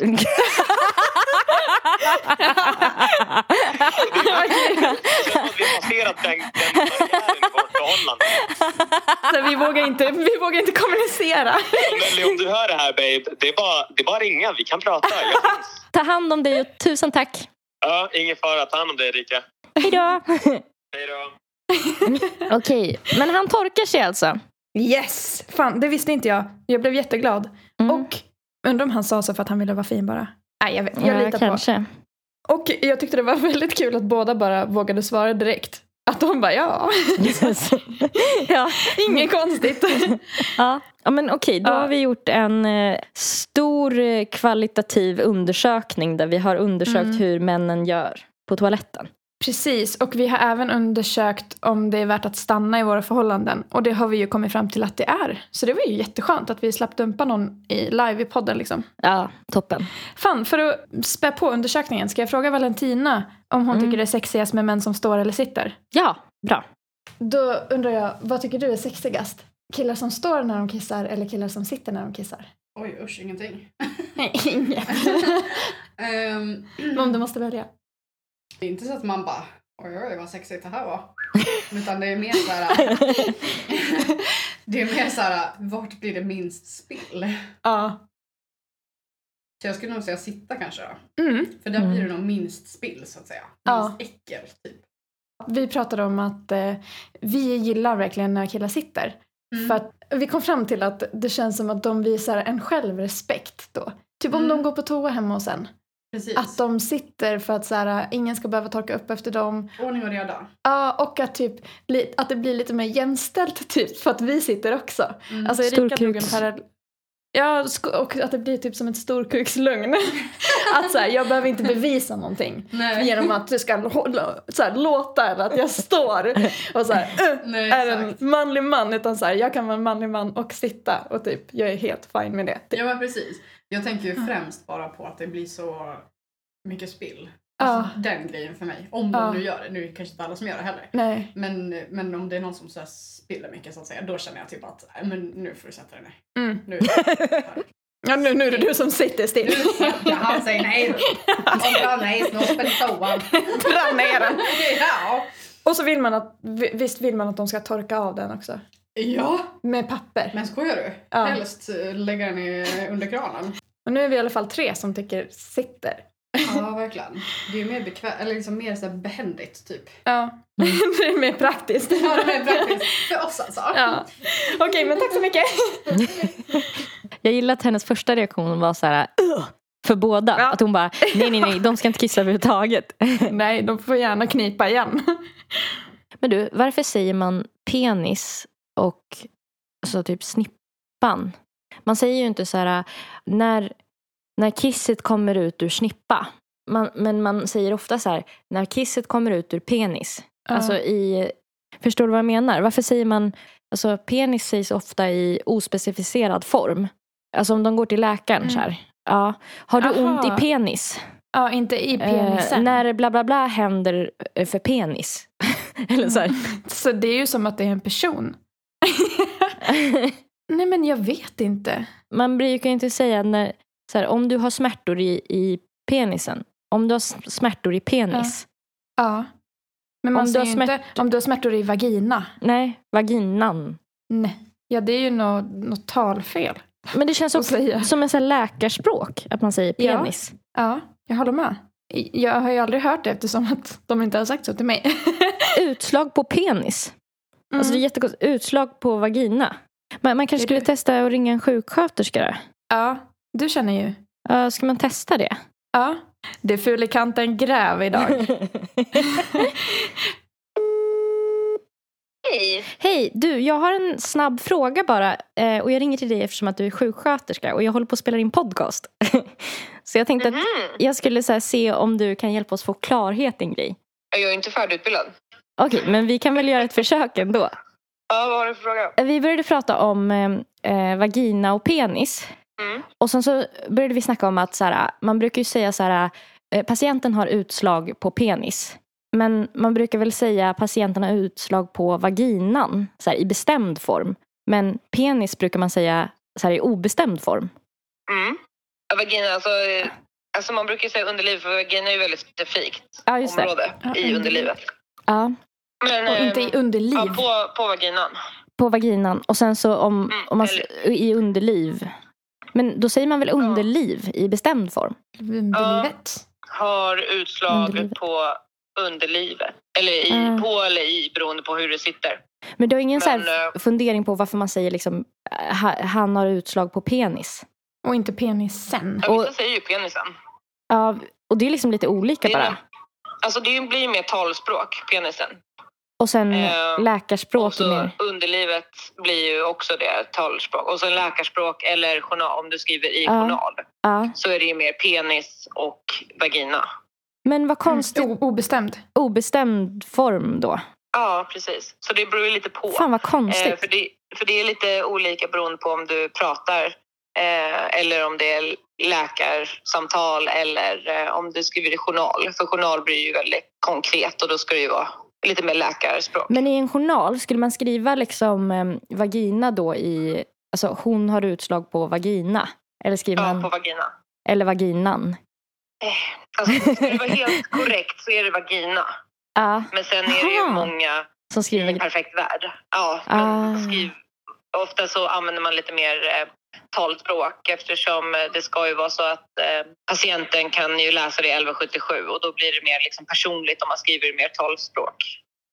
Det känns som att vi har passerat den, den barriären i vårt förhållande. Så vi, vågar inte, vi vågar inte kommunicera. Nelly, om du hör det här babe, det är bara, det är bara att ringa. Vi kan prata. Jag finns. Ta hand om dig och tusen tack. Ja, ingen fara. Ta hand om dig Erika. Hej då! Hej då. Okej, men han torkar sig alltså. Yes! Fan, det visste inte jag. Jag blev jätteglad. Mm. Och undrar om han sa så för att han ville vara fin bara. Nej, jag vet. Jag ja, litar på. kanske. Och jag tyckte det var väldigt kul att båda bara vågade svara direkt. Att de bara ja, ja. inget konstigt. Ja. ja, men okej. Då Ja. har vi gjort en eh, stor eh, kvalitativ undersökning där vi har undersökt Mm. hur männen gör på toaletten. Precis, och vi har även undersökt om det är värt att stanna i våra förhållanden. Och det har vi ju kommit fram till att det är. Så det var ju jätteskönt att vi slapp dumpa någon i, live i podden liksom. Ja, toppen. Fan, för att spä på undersökningen, ska jag fråga Valentina om hon Mm. tycker det är sexigast med män som står eller sitter? Ja, bra. Då undrar jag, vad tycker du är sexigast? Killar som står när de kissar eller killar som sitter när de kissar? Oj, usch, ingenting. Nej, inget. Ehm, Men Mm. om du måste välja. det är inte så att man bara oj, oj, vad sexigt det här var. Utan det är mer så här... det är mer så här, vart blir det minst spill? Ja. Så jag skulle nog säga sitta kanske då. Mm. För där blir det nog minst spill så att säga. Minst Ja. äckel typ. Vi pratade om att eh, vi gillar verkligen när killar sitter. Mm, För att vi kom fram till att det känns som att de visar en självrespekt då. Typ om Mm. de går på toa hemma hos en. Precis. Att de sitter för att så här, äh, ingen ska behöva torka upp efter dem. Ordning och reda. Ja, och att, typ, li- att det blir lite mer jämställt typ för att vi sitter också. Mm. Alltså Erika Storkuks. drog en parallell. Ja, sk- och att det blir typ som ett storkukslugn. att så här, jag behöver inte bevisa någonting. Nej. Genom att du ska hålla, så här, låta eller att jag står och så här, "Uh, Nej, är exakt. en manlig man utan så här, jag kan vara en manlig man och sitta och typ jag är helt fine med det. typ. Ja men precis. Jag tänker ju främst bara på att det blir så mycket spill. Ja. Alltså den grejen för mig. Om de Ja. nu gör det. Nu är det kanske inte alla som gör det heller. Nej. Men, men om det är någon som så här spiller mycket så att säga, då känner jag typ att "Nej, men nu får du sätta dig ner. Mm. Nu, här. Ja, nu, nu är det du som sitter nu still. snackar han, säger nej. Och dra nej, snoppen i toan. Dra ner den. Ja. Och så vill man att, vi- visst vill man att de ska torka av den också. ja, Med papper. men skojar du? Ja. Helst eh, lägga den i- under kranen. Och nu är vi i alla fall tre som tycker sitter. Ja, verkligen. Det är ju mer bekvämt, eller liksom mer så här behändigt typ. Ja. det är mer praktiskt. Ja, det är praktiskt för oss alltså. Ja. Okej, men tack så mycket. Jag gillar att hennes första reaktion var så här... "Ugh", För båda. Ja. Att hon bara, nej nej nej, de ska inte kissa överhuvudtaget. Nej, de får gärna knipa igen. Men du, varför säger man penis och alltså typ snippan? Man säger ju inte så här, när, när kisset kommer ut ur snippa. Man, men man säger ofta så här, när kisset kommer ut ur penis. Alltså i, förstår du vad jag menar? Varför säger man, alltså penis sägs ofta i ospecificerad form. Alltså om de går till läkaren Mm. så här. Ja. Har du Aha. ont i penis? ja, inte i Eh, när bla bla bla händer eh, för penis. Eller så här. Så det är ju som att det är en person. Nej, men jag vet inte. man brukar ju inte säga när, så här, om du har smärtor i, i penisen. Om du har s- smärtor i penis. Ja. Men man Om du säger har ju inte om du har smärtor i vagina. Nej, vaginan. Nej. Ja, det är ju nå- något talfel Men det känns att också säga. som en så här läkarspråk att man säger Ja. penis. Ja, jag håller med. Jag har ju aldrig hört det eftersom att de inte har sagt så till mig. Utslag på penis. Mm. Alltså det är jättekonstigt. Utslag på vagina. Man, man kanske Är skulle det- testa att ringa en sjuksköterska då. Ja, du känner ju. Ja, ska man testa det? Ja. Det är ful i kanten gräv idag. Hej! Hej, du, jag har en snabb fråga bara. Eh, och jag ringer till dig eftersom att du är sjuksköterska och jag håller på att spela in podcast. så jag tänkte att Mhm. Jag skulle så här se om du kan hjälpa oss få klarhet i en grej. Jag är inte färdigutbildad. Okej, men vi kan väl göra ett försök ändå. Ja, vad har du för fråga? Vi började prata om eh, eh, vagina och penis. Mm. Och sen så började vi snacka om att så här, man brukar ju säga så här, eh, patienten har utslag på penis. Men man brukar väl säga patienten har utslag på vaginan så här, i bestämd form. Men penis brukar man säga så här, i obestämd form. Mm. Ja, Vagina, alltså, eh, alltså man brukar ju säga underliv för vagina är ju väldigt specifikt Ja, just det. område i Ja, underliv. underlivet. Ja, Men, Och eh, inte ehm, i underliv. ja, på, på vaginan. på vaginan. Och sen så om, Mm, om man, s- i underliv. Men då säger man väl underliv i bestämd form? Underlivet. Har utslag Underlivet. på underlivet. Eller i, Mm. på eller i beroende på hur det sitter. Men du har ingen så Men, eh, här f- fundering på varför man säger liksom, eh, ha- han har utslag på penis? Och inte penisen. Ja, Och- vissa säger ju penisen. Ja, och det är liksom lite olika Det är bara. det. Alltså det blir ju mer talspråk, penisen. Och sen Eh, Och läkarspråk är så mer. underlivet blir ju också det, talspråk. Och sen läkarspråk eller journal, om du skriver i Ja. journal Ja. så är det ju mer penis och vagina. Men Mm. vad konstigt, O- Mm. obestämd. obestämd form då. Ja, precis. Så det beror ju lite på. Fan vad Eh, konstigt. för, det, för det är lite olika beroende på om du pratar eh, eller om det är läkarsamtal eller eh, om du skriver i journal. För journal blir ju väldigt konkret och då ska det ju vara lite mer läkarspråk. Men i en journal, skulle man skriva liksom em, vagina då i, alltså hon har utslag på vagina? Eller skriver Ja, man, på vagina. eller vaginan? Alltså, ska det vara helt korrekt så är det vagina. Ja, Men sen är det ju Aha. många som i en skriver, perfekt värld. Ja, men Ah. skriv, ofta så använder man lite mer eh, talspråk eftersom eh, det ska ju vara så att eh, patienten kan ju läsa det i 1177 och då blir det mer liksom, personligt om man skriver mer talspråk.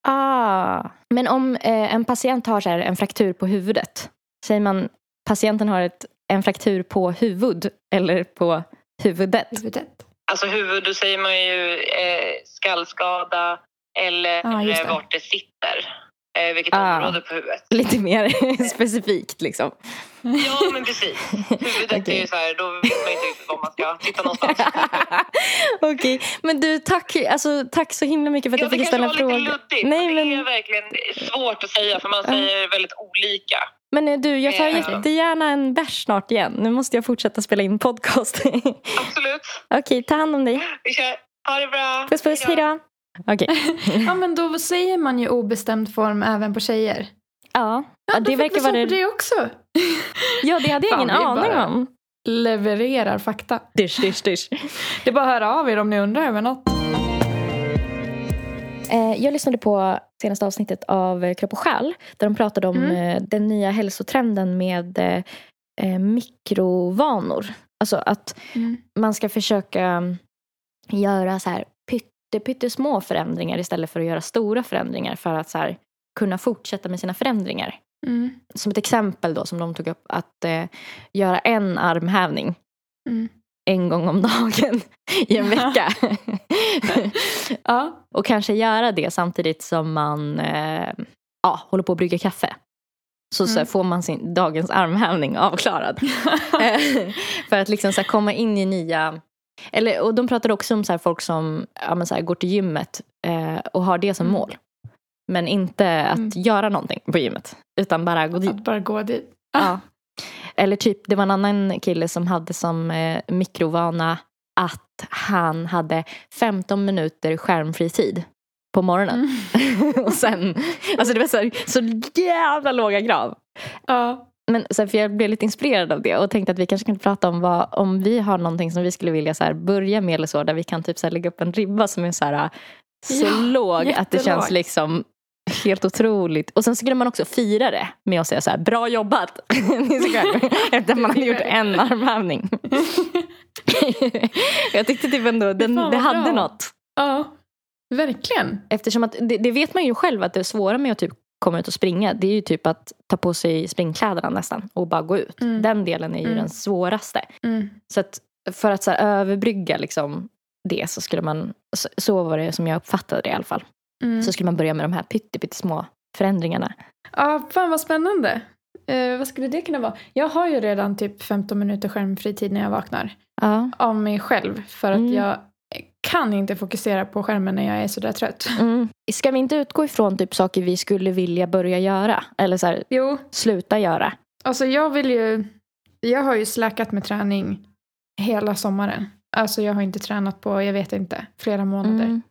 ah. Men om eh, en patient har så här, en fraktur på huvudet, säger man patienten har ett, en fraktur på huvud eller på huvudet? Huvudet. Alltså huvud, då säger man ju eh, skallskada eller eh, Ah, just det. vart det sitter. Eh, vilket Ah. område på huvudet. Lite mer specifikt liksom. Ja, men precis. Huvudet är Okej. ju så här, då vet man inte riktigt var man ska titta någonstans. Okej, men du tack, alltså, tack så himla mycket för att Ja, jag det fick kanske ställa var lite frågan. luddigt. Nej, Nej, men... Det är men, verkligen svårt att säga för man Ja. säger väldigt olika. men eh, du, jag tar Eh. jättegärna en bärs snart igen. Nu måste jag fortsätta spela in podcast. Okej, Absolut. ta hand om dig. Vi kör. Ha det bra. Puss puss, hej då. Okej, Ja men då säger man ju obestämd form även på tjejer. ja. Ja, ja. då Det fick verkar vi svar vara på det. det också. Ja, det hade jag Fan, ingen det är aning bara- om. Levererar fakta. Dysch, dysch, dysch. Det är bara att höra av er om ni undrar över något. Eh, Jag lyssnade på senaste avsnittet av eh, Kropp och själ där de pratade om Mm. eh, den nya hälsotrenden med eh, eh, mikrovanor. Alltså att Mm. man ska försöka mm, göra så här pytte, pyttesmå förändringar istället för att göra stora förändringar för att så här, kunna fortsätta med sina förändringar. Mm. Som ett exempel då som de tog upp att eh, göra en armhävning Mm. en gång om dagen i en vecka. Ja. Och kanske göra det samtidigt som man eh, ja, håller på att brygga kaffe. Så, så här, Mm. får man sin dagens armhävning avklarad. Eh, för att liksom så här, komma in i nya... Eller, och de pratade också om så här, folk som ja, men så här, går till gymmet eh, och har det som Mm. mål. Men inte att Mm. göra någonting på gymmet. Utan bara gå dit. Att bara gå dit. Ja. Eller typ, det var en annan kille som hade som eh, mikrovana att han hade 15 minuter skärmfri tid på morgonen. Mm. och sen, alltså det var så, här, så jävla låga krav. Ja. Men så här, för jag blev lite inspirerad av det och tänkte att vi kanske kan prata om vad, om vi har någonting som vi skulle vilja så här, börja med eller så, där vi kan typ så här, lägga upp en ribba som är så här, äh, så Ja, låg att det känns jättelåg. liksom helt otroligt. Och sen skulle man också fira det med att säga så här, bra jobbat! Ni ska själv. Efter att man hade gjort en armhävning. jag tyckte typ ändå den, Fan, vad det hade bra. något. Ja. Verkligen. Eftersom att, det, det vet man ju själv att det svåra med att typ komma ut och springa det är ju typ att ta på sig springkläderna nästan och bara gå ut. Mm. Den delen är ju Mm. den svåraste. Mm. Så att för att så här, överbrygga liksom det så skulle man, så, så var det som jag uppfattade det i alla fall, Mm. så skulle man börja med de här pytte- pyttesmå förändringarna. Ja, fan vad spännande. Eh, vad skulle det kunna vara? Jag har ju redan typ 15 minuter skärmfri tid när jag vaknar. Ja. Av mig själv. För att Mm. jag kan inte fokusera på skärmen när jag är sådär trött. Mm. Ska vi inte utgå ifrån typ saker vi skulle vilja börja göra? Eller så här, Jo, sluta göra? alltså jag vill ju... Jag har ju släkat med träning hela sommaren. Alltså jag har inte tränat på, jag vet inte, flera månader. Mm.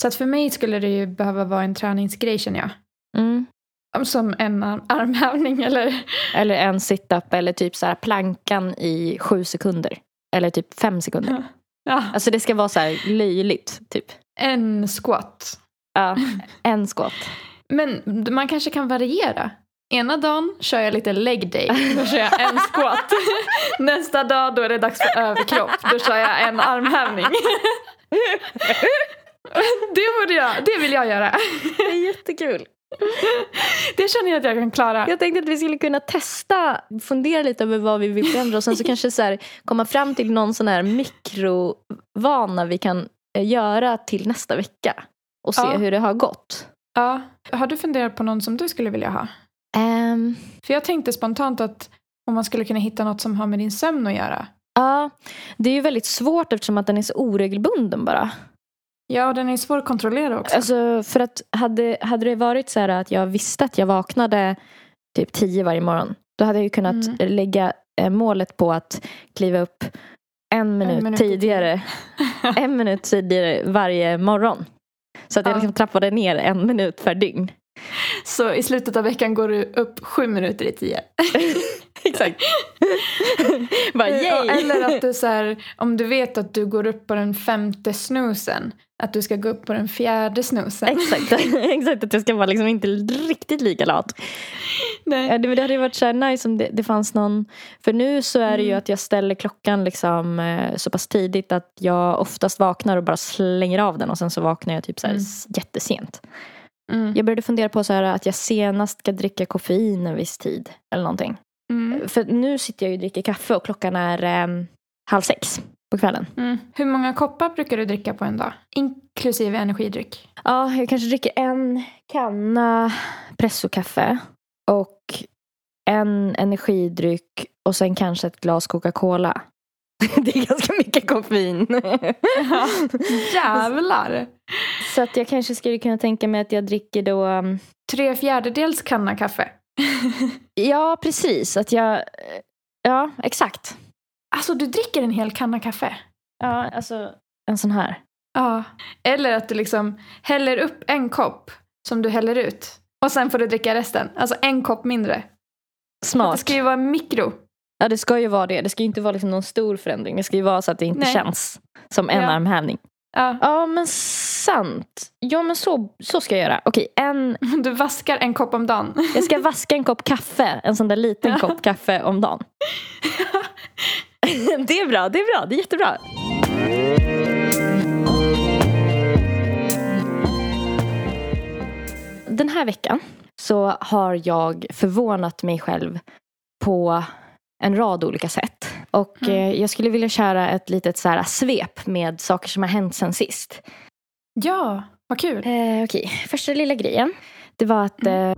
Så att för mig skulle det ju behöva vara en träningsgrej känner jag. Mm. Som en ar- armhävning eller... Eller en sit-up eller typ så här plankan i sju sekunder. Eller typ fem sekunder. Ja, Alltså det ska vara så här löjligt typ. en squat. Ja, en skott. Men man kanske kan variera. Ena dagen kör jag lite leg day, då kör jag en squat. Nästa dag då är det dags för överkropp, då kör jag en armhävning. Det borde jag, det vill jag göra. Det är jättekul. Det känner jag att jag kan klara. Jag tänkte att vi skulle kunna testa, fundera lite över vad vi vill förändra och sen så kanske så här, komma fram till någon sån här mikrovana vi kan eh, göra till nästa vecka och se Ja. hur det har gått. Ja. Har du funderat på någon som du skulle vilja ha? Ehm, För jag tänkte spontant att om man skulle kunna hitta något som har med din sömn att göra. Ja, det är ju väldigt svårt eftersom att den är så oregelbunden bara. Ja, och den är svår att kontrollera också. Alltså för att hade, hade det varit så här att jag visste att jag vaknade typ tio varje morgon. Då hade jag ju kunnat Mm. lägga eh, målet på att kliva upp en minut, minut tidigare. en minut tidigare varje morgon. Så att jag Ja. liksom trappade ner en minut per dygn. Så i slutet av veckan går du upp sju minuter i tio. Exakt. Bara Ja, yay! Eller att du så här, om du vet att du går upp på den femte snusen, att du ska gå upp på den fjärde snusen. Exakt, exakt att jag ska vara liksom inte riktigt lika lat. Ja, Nej. Eh, det, men det hade ju varit så här nice om det, det fanns någon. För nu så är det ju Mm. att jag ställer klockan liksom, eh, så pass tidigt att jag oftast vaknar och bara slänger av den och sen så vaknar jag typ så här Mm. s- jättesent. Mm. Jag började fundera på så här att jag senast ska dricka koffein en viss tid eller någonting. Mm. För nu sitter jag ju och dricker kaffe och klockan är ehm, halv sex på kvällen. Mm. Hur många koppar brukar du dricka på en dag? Inklusive energidryck. Ja, jag kanske dricker en kanna pressokaffe och en energidryck och sen kanske ett glas Coca-Cola. Det är ganska mycket koffein. Ja. Jävlar! Så att jag kanske skulle kunna tänka mig att jag dricker då... um, Tre fjärdedels kanna kaffe. Ja, precis. Att jag... eh, Ja, exakt. Alltså du dricker en hel kanna kaffe? Ja, alltså... En sån här. Ja. Eller att du liksom häller upp en kopp som du häller ut. Och sen får du dricka resten. Alltså en kopp mindre. Det Smart. ska ju vara mikro. Ja, det ska ju vara det. Det ska ju inte vara liksom någon stor förändring. Det ska ju vara så att det inte Nej. känns som en Ja. armhävning. Ja. Ja, men sant. Ja, men så, så ska jag göra. Okej, en Du vaskar en kopp om dagen. Jag ska vaska en kopp kaffe, en sån där liten kopp kaffe om dagen. Det är bra, det är bra, det är jättebra. Den här veckan så har jag förvånat mig själv på en rad olika sätt. Och Mm. eh, jag skulle vilja köra ett litet så här svep med saker som har hänt sen sist. Ja, vad kul. Eh, Okej, första lilla grejen. Det var att eh,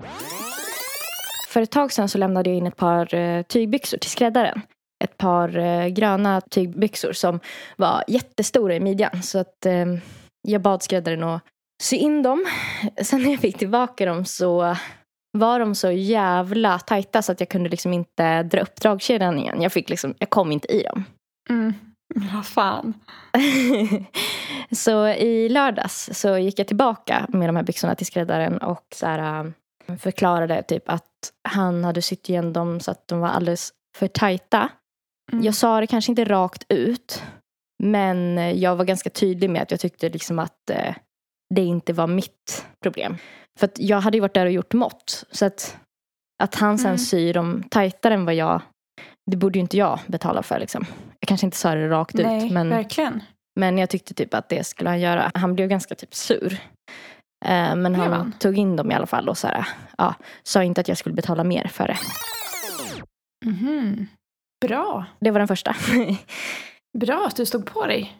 för ett tag sedan så lämnade jag in ett par eh, tygbyxor till skräddaren. Ett par eh, gröna tygbyxor som var jättestora i midjan. Så att eh, jag bad skräddaren att sy in dem. Sen när jag fick tillbaka dem så var de så jävla tajta så att jag kunde liksom inte dra upp dragkedjan igen. Jag, fick liksom, jag kom inte i dem. Mm. Vad fan. så i lördags så gick jag tillbaka med de här byxorna till skräddaren och så här, äh, förklarade typ att han hade sytt igen dem så att de var alldeles för tajta. Mm. Jag sa det kanske inte rakt ut men jag var ganska tydlig med att jag tyckte liksom att eh, det inte var mitt problem. För att jag hade ju varit där och gjort mått så att, att han sen Mm. syr dem tajtare än vad jag det borde ju inte jag betala för liksom. Jag kanske inte sa det rakt Nej, ut men verkligen. men jag tyckte typ att det skulle han göra. Han blev ganska typ sur. Eh, Men Blev han han? tog in dem i alla fall och så här, ja, sa inte att jag skulle betala mer för det. Mhm. Bra. Det var den första. Bra att du stod på dig.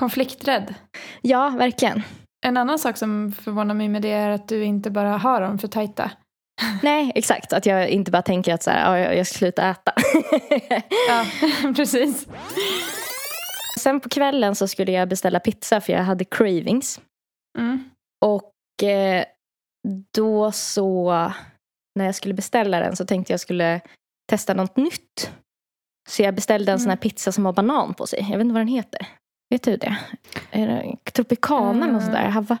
Konflikträdd. ja, verkligen. En annan sak som förvånar mig med det är att du inte bara har dem för tajta. Nej, exakt. Att jag inte bara tänker att så här, ja, jag- jag ska sluta äta. Ja, precis. Sen på kvällen så skulle jag beställa pizza för jag hade cravings. Mm. Och eh, då så, när jag skulle beställa den så tänkte jag skulle testa något nytt. Så jag beställde en sån här Mm. pizza som har banan på sig. Jag vet inte vad den heter. Vet du det? Är det Tropicana eller något sånt där? Hava,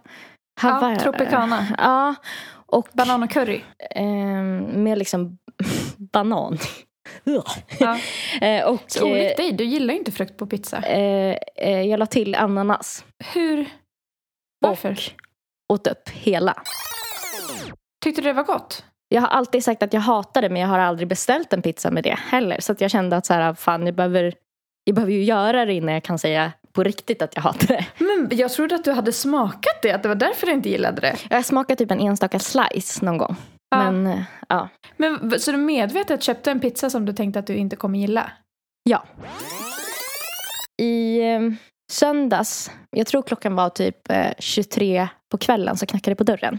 hava, Mm. Ja, Tropicana. Ja. Och Banan och curry. ehm, med liksom banan. Ja. Eh, och Så olikt dig, du gillar ju inte frukt på pizza. eh, eh, jag la till ananas. Hur? Varför? Och åt upp hela. Tyckte du det var gott? Jag har alltid sagt att jag hatar det men jag har aldrig beställt ah, en pizza med det heller. Så att jag kände att så här, fan, jag, behöver, jag behöver ju göra det innan jag kan säga på riktigt att jag hatar det. Men jag trodde att du hade smakat det, att det var därför du inte gillade det. Jag har smakat typ en enstaka slice någon gång. Ja. Men eh, ja. Men, v- så du medvetet köpte en pizza som du tänkte att du inte kommer gilla? ja. I eh, söndags, jag tror klockan var typ eh, 23 på kvällen, så knackade det på dörren.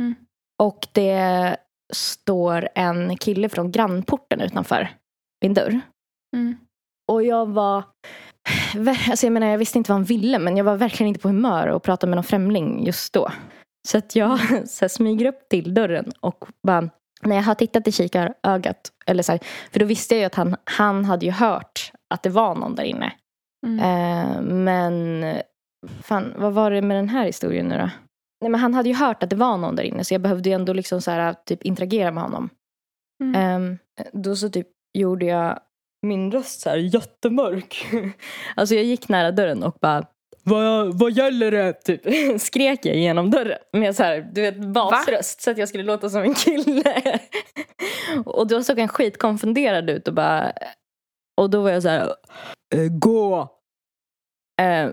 Mm. Och det står en kille från grannporten utanför min dörr. Mm. Och jag var... ver- Alltså jag, menar, jag visste inte vad han ville men jag var verkligen inte på humör att prata med någon främling just då. Så att jag så här, smyger upp till dörren och bara... När jag har tittat i kikarögat, eller så här, för då visste jag ju att han, han hade ju hört att det var någon där inne. Mm. Eh, men fan, vad var det med den här historien nu då? Nej, men han hade ju hört att det var någon där inne så jag behövde ju ändå liksom så här, typ interagera med honom. Mm. Ehm, då så typ gjorde jag min röst så här jättemörk. alltså jag gick nära dörren och bara vad, vad gäller det? Typ skrek jag genom dörren med så här, du vet, basröst så att jag skulle låta som en kille. och då såg han skitkonfunderad ut och bara och då var jag så här "Eh, gå. Eh,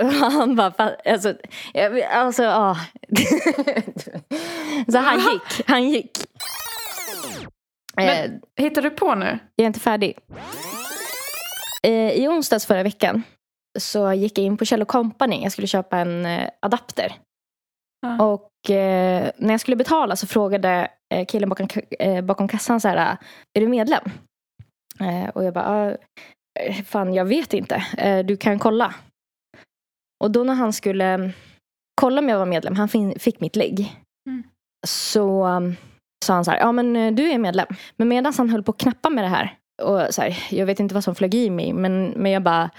han bara, fa- alltså, jag- alltså ja. så han gick, han gick. Men- Eh, Hittar du på nu? jag är inte färdig. Eh, I onsdags förra veckan så gick jag in på Kjell Company. Jag skulle köpa en eh, adapter. Ja. Och eh, när jag skulle betala så frågade eh, killen bakom, ka- eh, bakom kassan så här, är du medlem? Eh, och jag bara, "Ah, eh, fan jag vet inte. Eh, du kan kolla. Och då när han skulle eh, kolla om jag var medlem, han fin- fick mitt ligg. Mm. Så um, sa han så här, ja men eh, du är medlem. Men medan han höll på att knappa med det här, och så här, jag vet inte vad som flög i mig, men, men jag bara,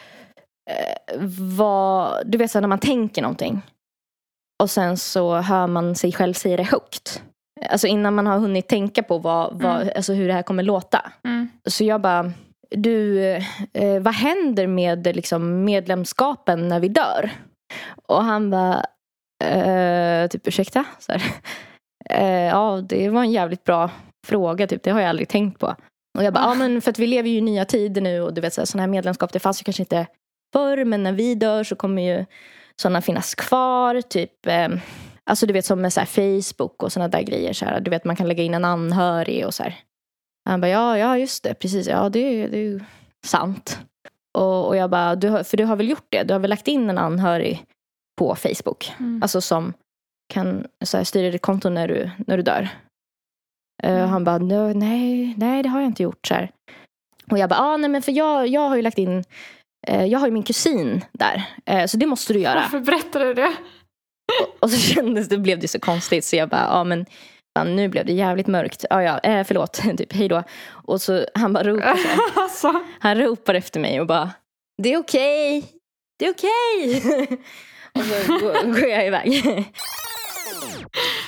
eh, vad, du vet så här, när man tänker någonting. Och sen så hör man sig själv säga det högt. Alltså innan man har hunnit tänka på vad, vad, alltså hur det här kommer låta. Mm. Så jag bara, du, eh, vad händer med eh, liksom, medlemskapen när vi dör? Och han bara, eh, typ ursäkta? Så här. Eh, ja, det var en jävligt bra fråga, typ. det har jag aldrig tänkt på. Och jag bara, ja men för att vi lever ju i nya tider nu och du vet sådana här medlemskap, det fanns ju kanske inte förr, men när vi dör så kommer ju sådana finnas kvar, typ eh, Alltså du vet som med så här Facebook och sådana där grejer. Så här, du vet man kan lägga in en anhörig och så här. Han bara, ja, ja just det, precis, ja det, det är ju sant. Och, och jag bara, du har, för du har väl gjort det? Du har väl lagt in en anhörig på Facebook? Mm. Alltså som kan så här, styra ditt konto när du, när du dör. Eh, Mm. han bara, "Nå, nej, nej det har jag inte gjort. Så här. Och jag bara, ah, nej men för jag, jag har ju lagt in, eh, jag har ju min kusin där. Eh, så det måste du göra. Varför berättar du det? Och så kändes det, blev det så konstigt så jag bara, ja men fan, nu blev det jävligt mörkt. Ja ja, eh, förlåt, typ hej då. Och så han bara ropar, alltså. han ropar efter mig och bara, det är okej, det är okej. och så går, går jag iväg.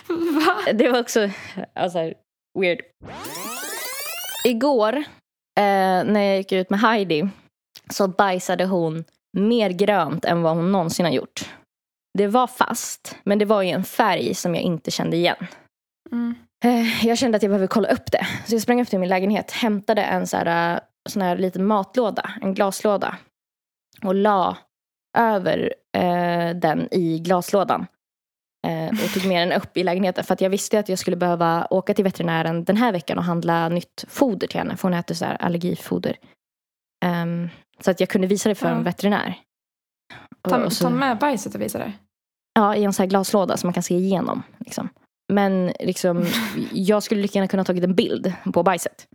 Va? det var också, alltså weird. Igår eh, när jag gick ut med Heidi så bajsade hon mer grönt än vad hon någonsin har gjort. Det var fast, men det var ju en färg som jag inte kände igen. Mm. Eh, Jag kände att jag behövde kolla upp det. Så jag sprang upp till min lägenhet, hämtade en så här, eh, sån här liten matlåda, en glaslåda. Och la över eh, den i glaslådan. Eh, och tog med den upp i lägenheten. För att jag visste att jag skulle behöva åka till veterinären den här veckan och handla nytt foder till henne. För hon äter så här allergifoder. Ehm, så att jag kunde visa det för Ja. en veterinär. Ta, Och så- ta med bajset och visa det. Ja, i en sån här glaslåda som man kan se igenom. Liksom. Men liksom, jag skulle lika gärna kunna ha tagit en bild på bajset.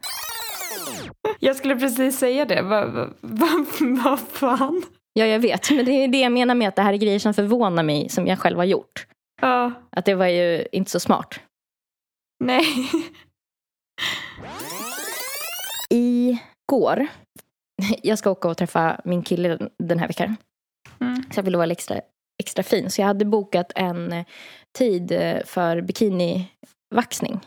Jag skulle precis säga det. Vad va, va, va fan? Ja, jag vet. Men det är det jag menar med att det här är grejer som förvånar mig som jag själv har gjort. Ja, Att det var ju inte så smart. nej. Igår, jag ska åka och träffa min kille den här veckan. Mm. Så jag ville vara extra, extra fin. Så jag hade bokat en eh, tid eh, för bikinivaxning.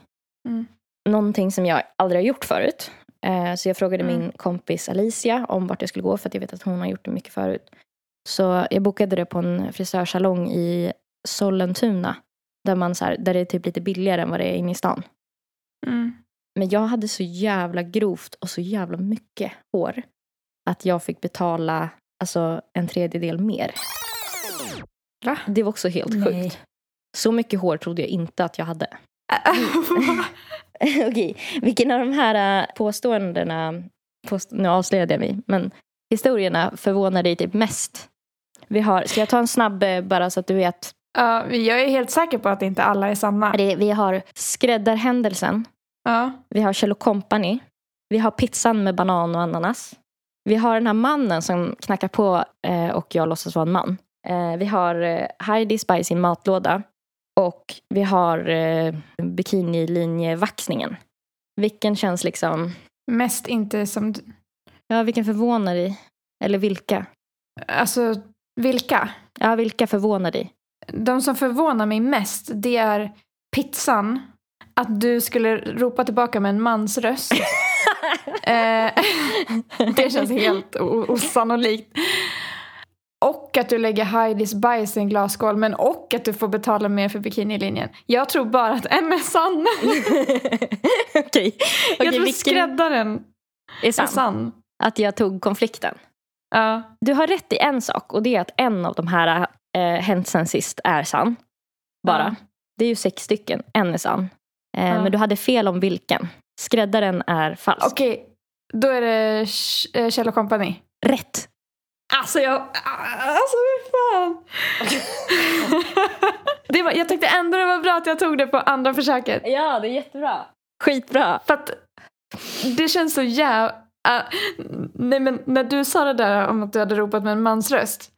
Mm. Någonting som jag aldrig har gjort förut. Eh, Så jag frågade Mm. min kompis Alicia om vart jag skulle gå för att jag vet att hon har gjort det mycket förut. Så jag bokade det på en frisörsalong i Sollentuna. Där, man så här, där det är typ lite billigare än vad det är inne i stan. Mm. Men jag hade så jävla grovt och så jävla mycket hår. Att jag fick betala alltså, en tredjedel mer. Va? Det var också helt sjukt. Så mycket hår trodde jag inte att jag hade. Okej, vilken av de här äh, påståendena, påst- nu avslöjade jag mig, men historierna förvånar dig typ mest? Vi har, ska jag ta en snabb eh, bara så att du vet? Ja, men jag är helt säker på att inte alla är sanna. Det- Vi har skräddarhändelsen, Ja. vi har Kjell Company, vi har pizzan med banan och ananas. Vi har den här mannen som knackar på eh, och jag låtsas vara en man. Eh, vi har eh, Heidi Spy sin matlåda och vi har eh, bikinilinjevaxningen. Vilken känns liksom Mest inte som... d- Ja, vilken förvånar dig? Eller vilka? Alltså, vilka? Ja, vilka förvånar dig? De som förvånar mig mest, det är pizzan. Att du skulle ropa tillbaka med en mans röst. eh, det känns helt o- osannolikt. Och att du lägger Heidis bajs i en glasskål, men och att du får betala mer för bikinilinjen. Jag tror bara att en är sann. Okej, jag Okej, tror vilken skräddaren är är sann? sann. Att jag tog konflikten. Ja. Du har rätt i en sak och det är att en av de här eh, hänt sen sist är sann. Bara. Ja. Det är ju sex stycken, en är sann. Eh, Ja. Men du hade fel om vilken. Skräddaren är falsk. Okej, då är det Sh- eh, Kjell Company. Rätt! Alltså jag... Alltså hur fan! det var, jag tyckte ändå det var bra att jag tog det på andra försöket. Ja, det är jättebra. Skitbra. För att det känns så jävla... nej men när du sa det där om att du hade ropat med en mans röst.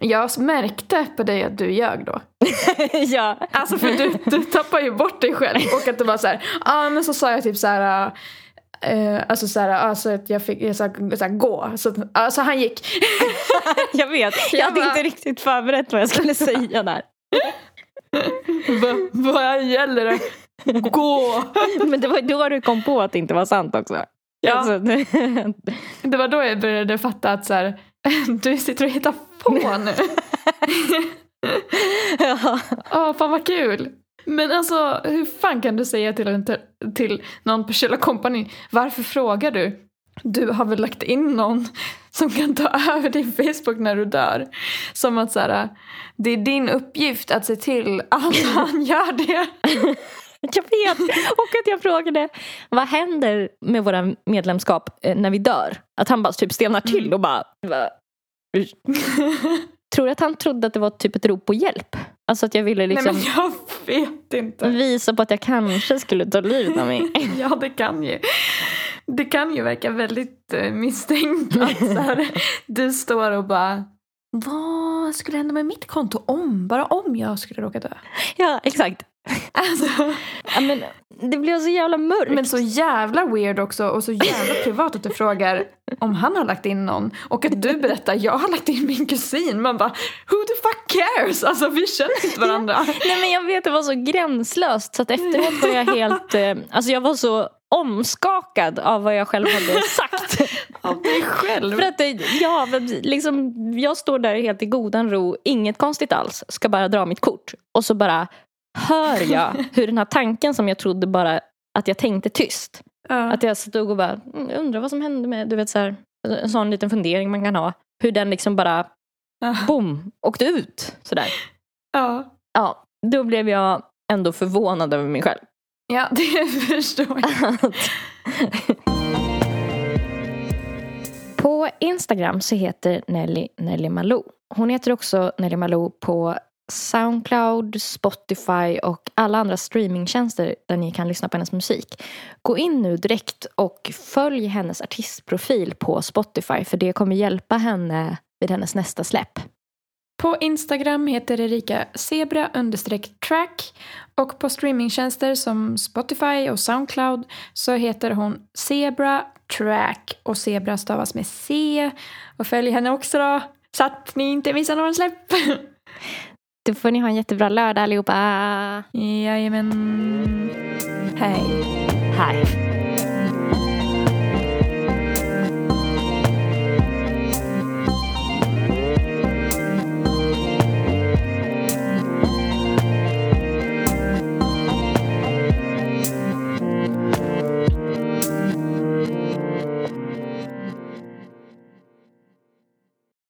Jag märkte på dig att du ljög då. ja. Alltså för du, du tappar ju bort dig själv. Och att det var så här, ja ah, men så sa jag typ så här, eh, alltså så här, alltså att jag fick, jag sa så här, gå. Så, att- alltså han gick. jag vet. Jag hade bara- inte riktigt förberett vad jag skulle säga där. Va- Vad gäller det? Gå! Men det var ju då du kom på att det inte var sant också. Ja. Alltså, det- Det var då jag började fatta att så här, du sitter och hittar på nu. ja. Åh, fan vad kul. Men alltså, hur fan kan du säga till, en ter- till någon på Kjell Company, varför frågar du? Du har väl lagt in någon som kan ta över din Facebook när du dör? Som att så här, det är din uppgift att se till att han gör det. Jag vet. Och att jag frågade vad händer med våra medlemskap eh, när vi dör? Att han bara typ stelnar Mm. till och bara... va? Ur- Tror du att han trodde att det var typ ett rop på hjälp? Alltså att jag ville liksom Nej men jag vet inte. visa på att jag kanske skulle ta livet av mig. Ja, det kan ju. Det kan ju verka väldigt eh, misstänkt att så här, du står och bara vad skulle hända med mitt konto om, bara om jag skulle råka dö? Ja, exakt. Alltså, Ja, Men det blev så jävla mörkt. men så jävla weird också och så jävla privat att du frågar om han har lagt in någon och att du berättar jag har lagt in min kusin. Man bara who the fuck cares? Alltså vi känner inte varandra. Nej men jag vet, det var så gränslöst så att efteråt var jag helt, eh, alltså jag var så omskakad av vad jag själv hade sagt. Av dig själv. För att det, ja, men liksom, jag står där helt i godan ro, inget konstigt alls, ska bara dra mitt kort. Och så bara hör jag hur den här tanken som jag trodde bara att jag tänkte tyst. Ja. Att jag stod och bara "Mm, undrar vad som hände med, du vet så här, en sån liten fundering man kan ha. Hur den liksom bara, Ja. boom, åkte ut. Sådär. ja. Ja, då blev jag ändå förvånad över mig själv. ja, det förstår jag. på Instagram så heter Nelly Nelly Malou. Hon heter också Nelly Malou på Soundcloud, Spotify och alla andra streamingtjänster där ni kan lyssna på hennes musik. Gå in nu direkt och följ hennes artistprofil på Spotify för det kommer hjälpa henne vid hennes nästa släpp. På Instagram heter Erika zebra understreck track och på streamingtjänster som Spotify och Soundcloud så heter hon zebra track och zebra stavas med C och följ henne också då så att ni inte missar någon släpp. Då får ni ha en jättebra lördag allihopa. Jajamän. Hej. Hej.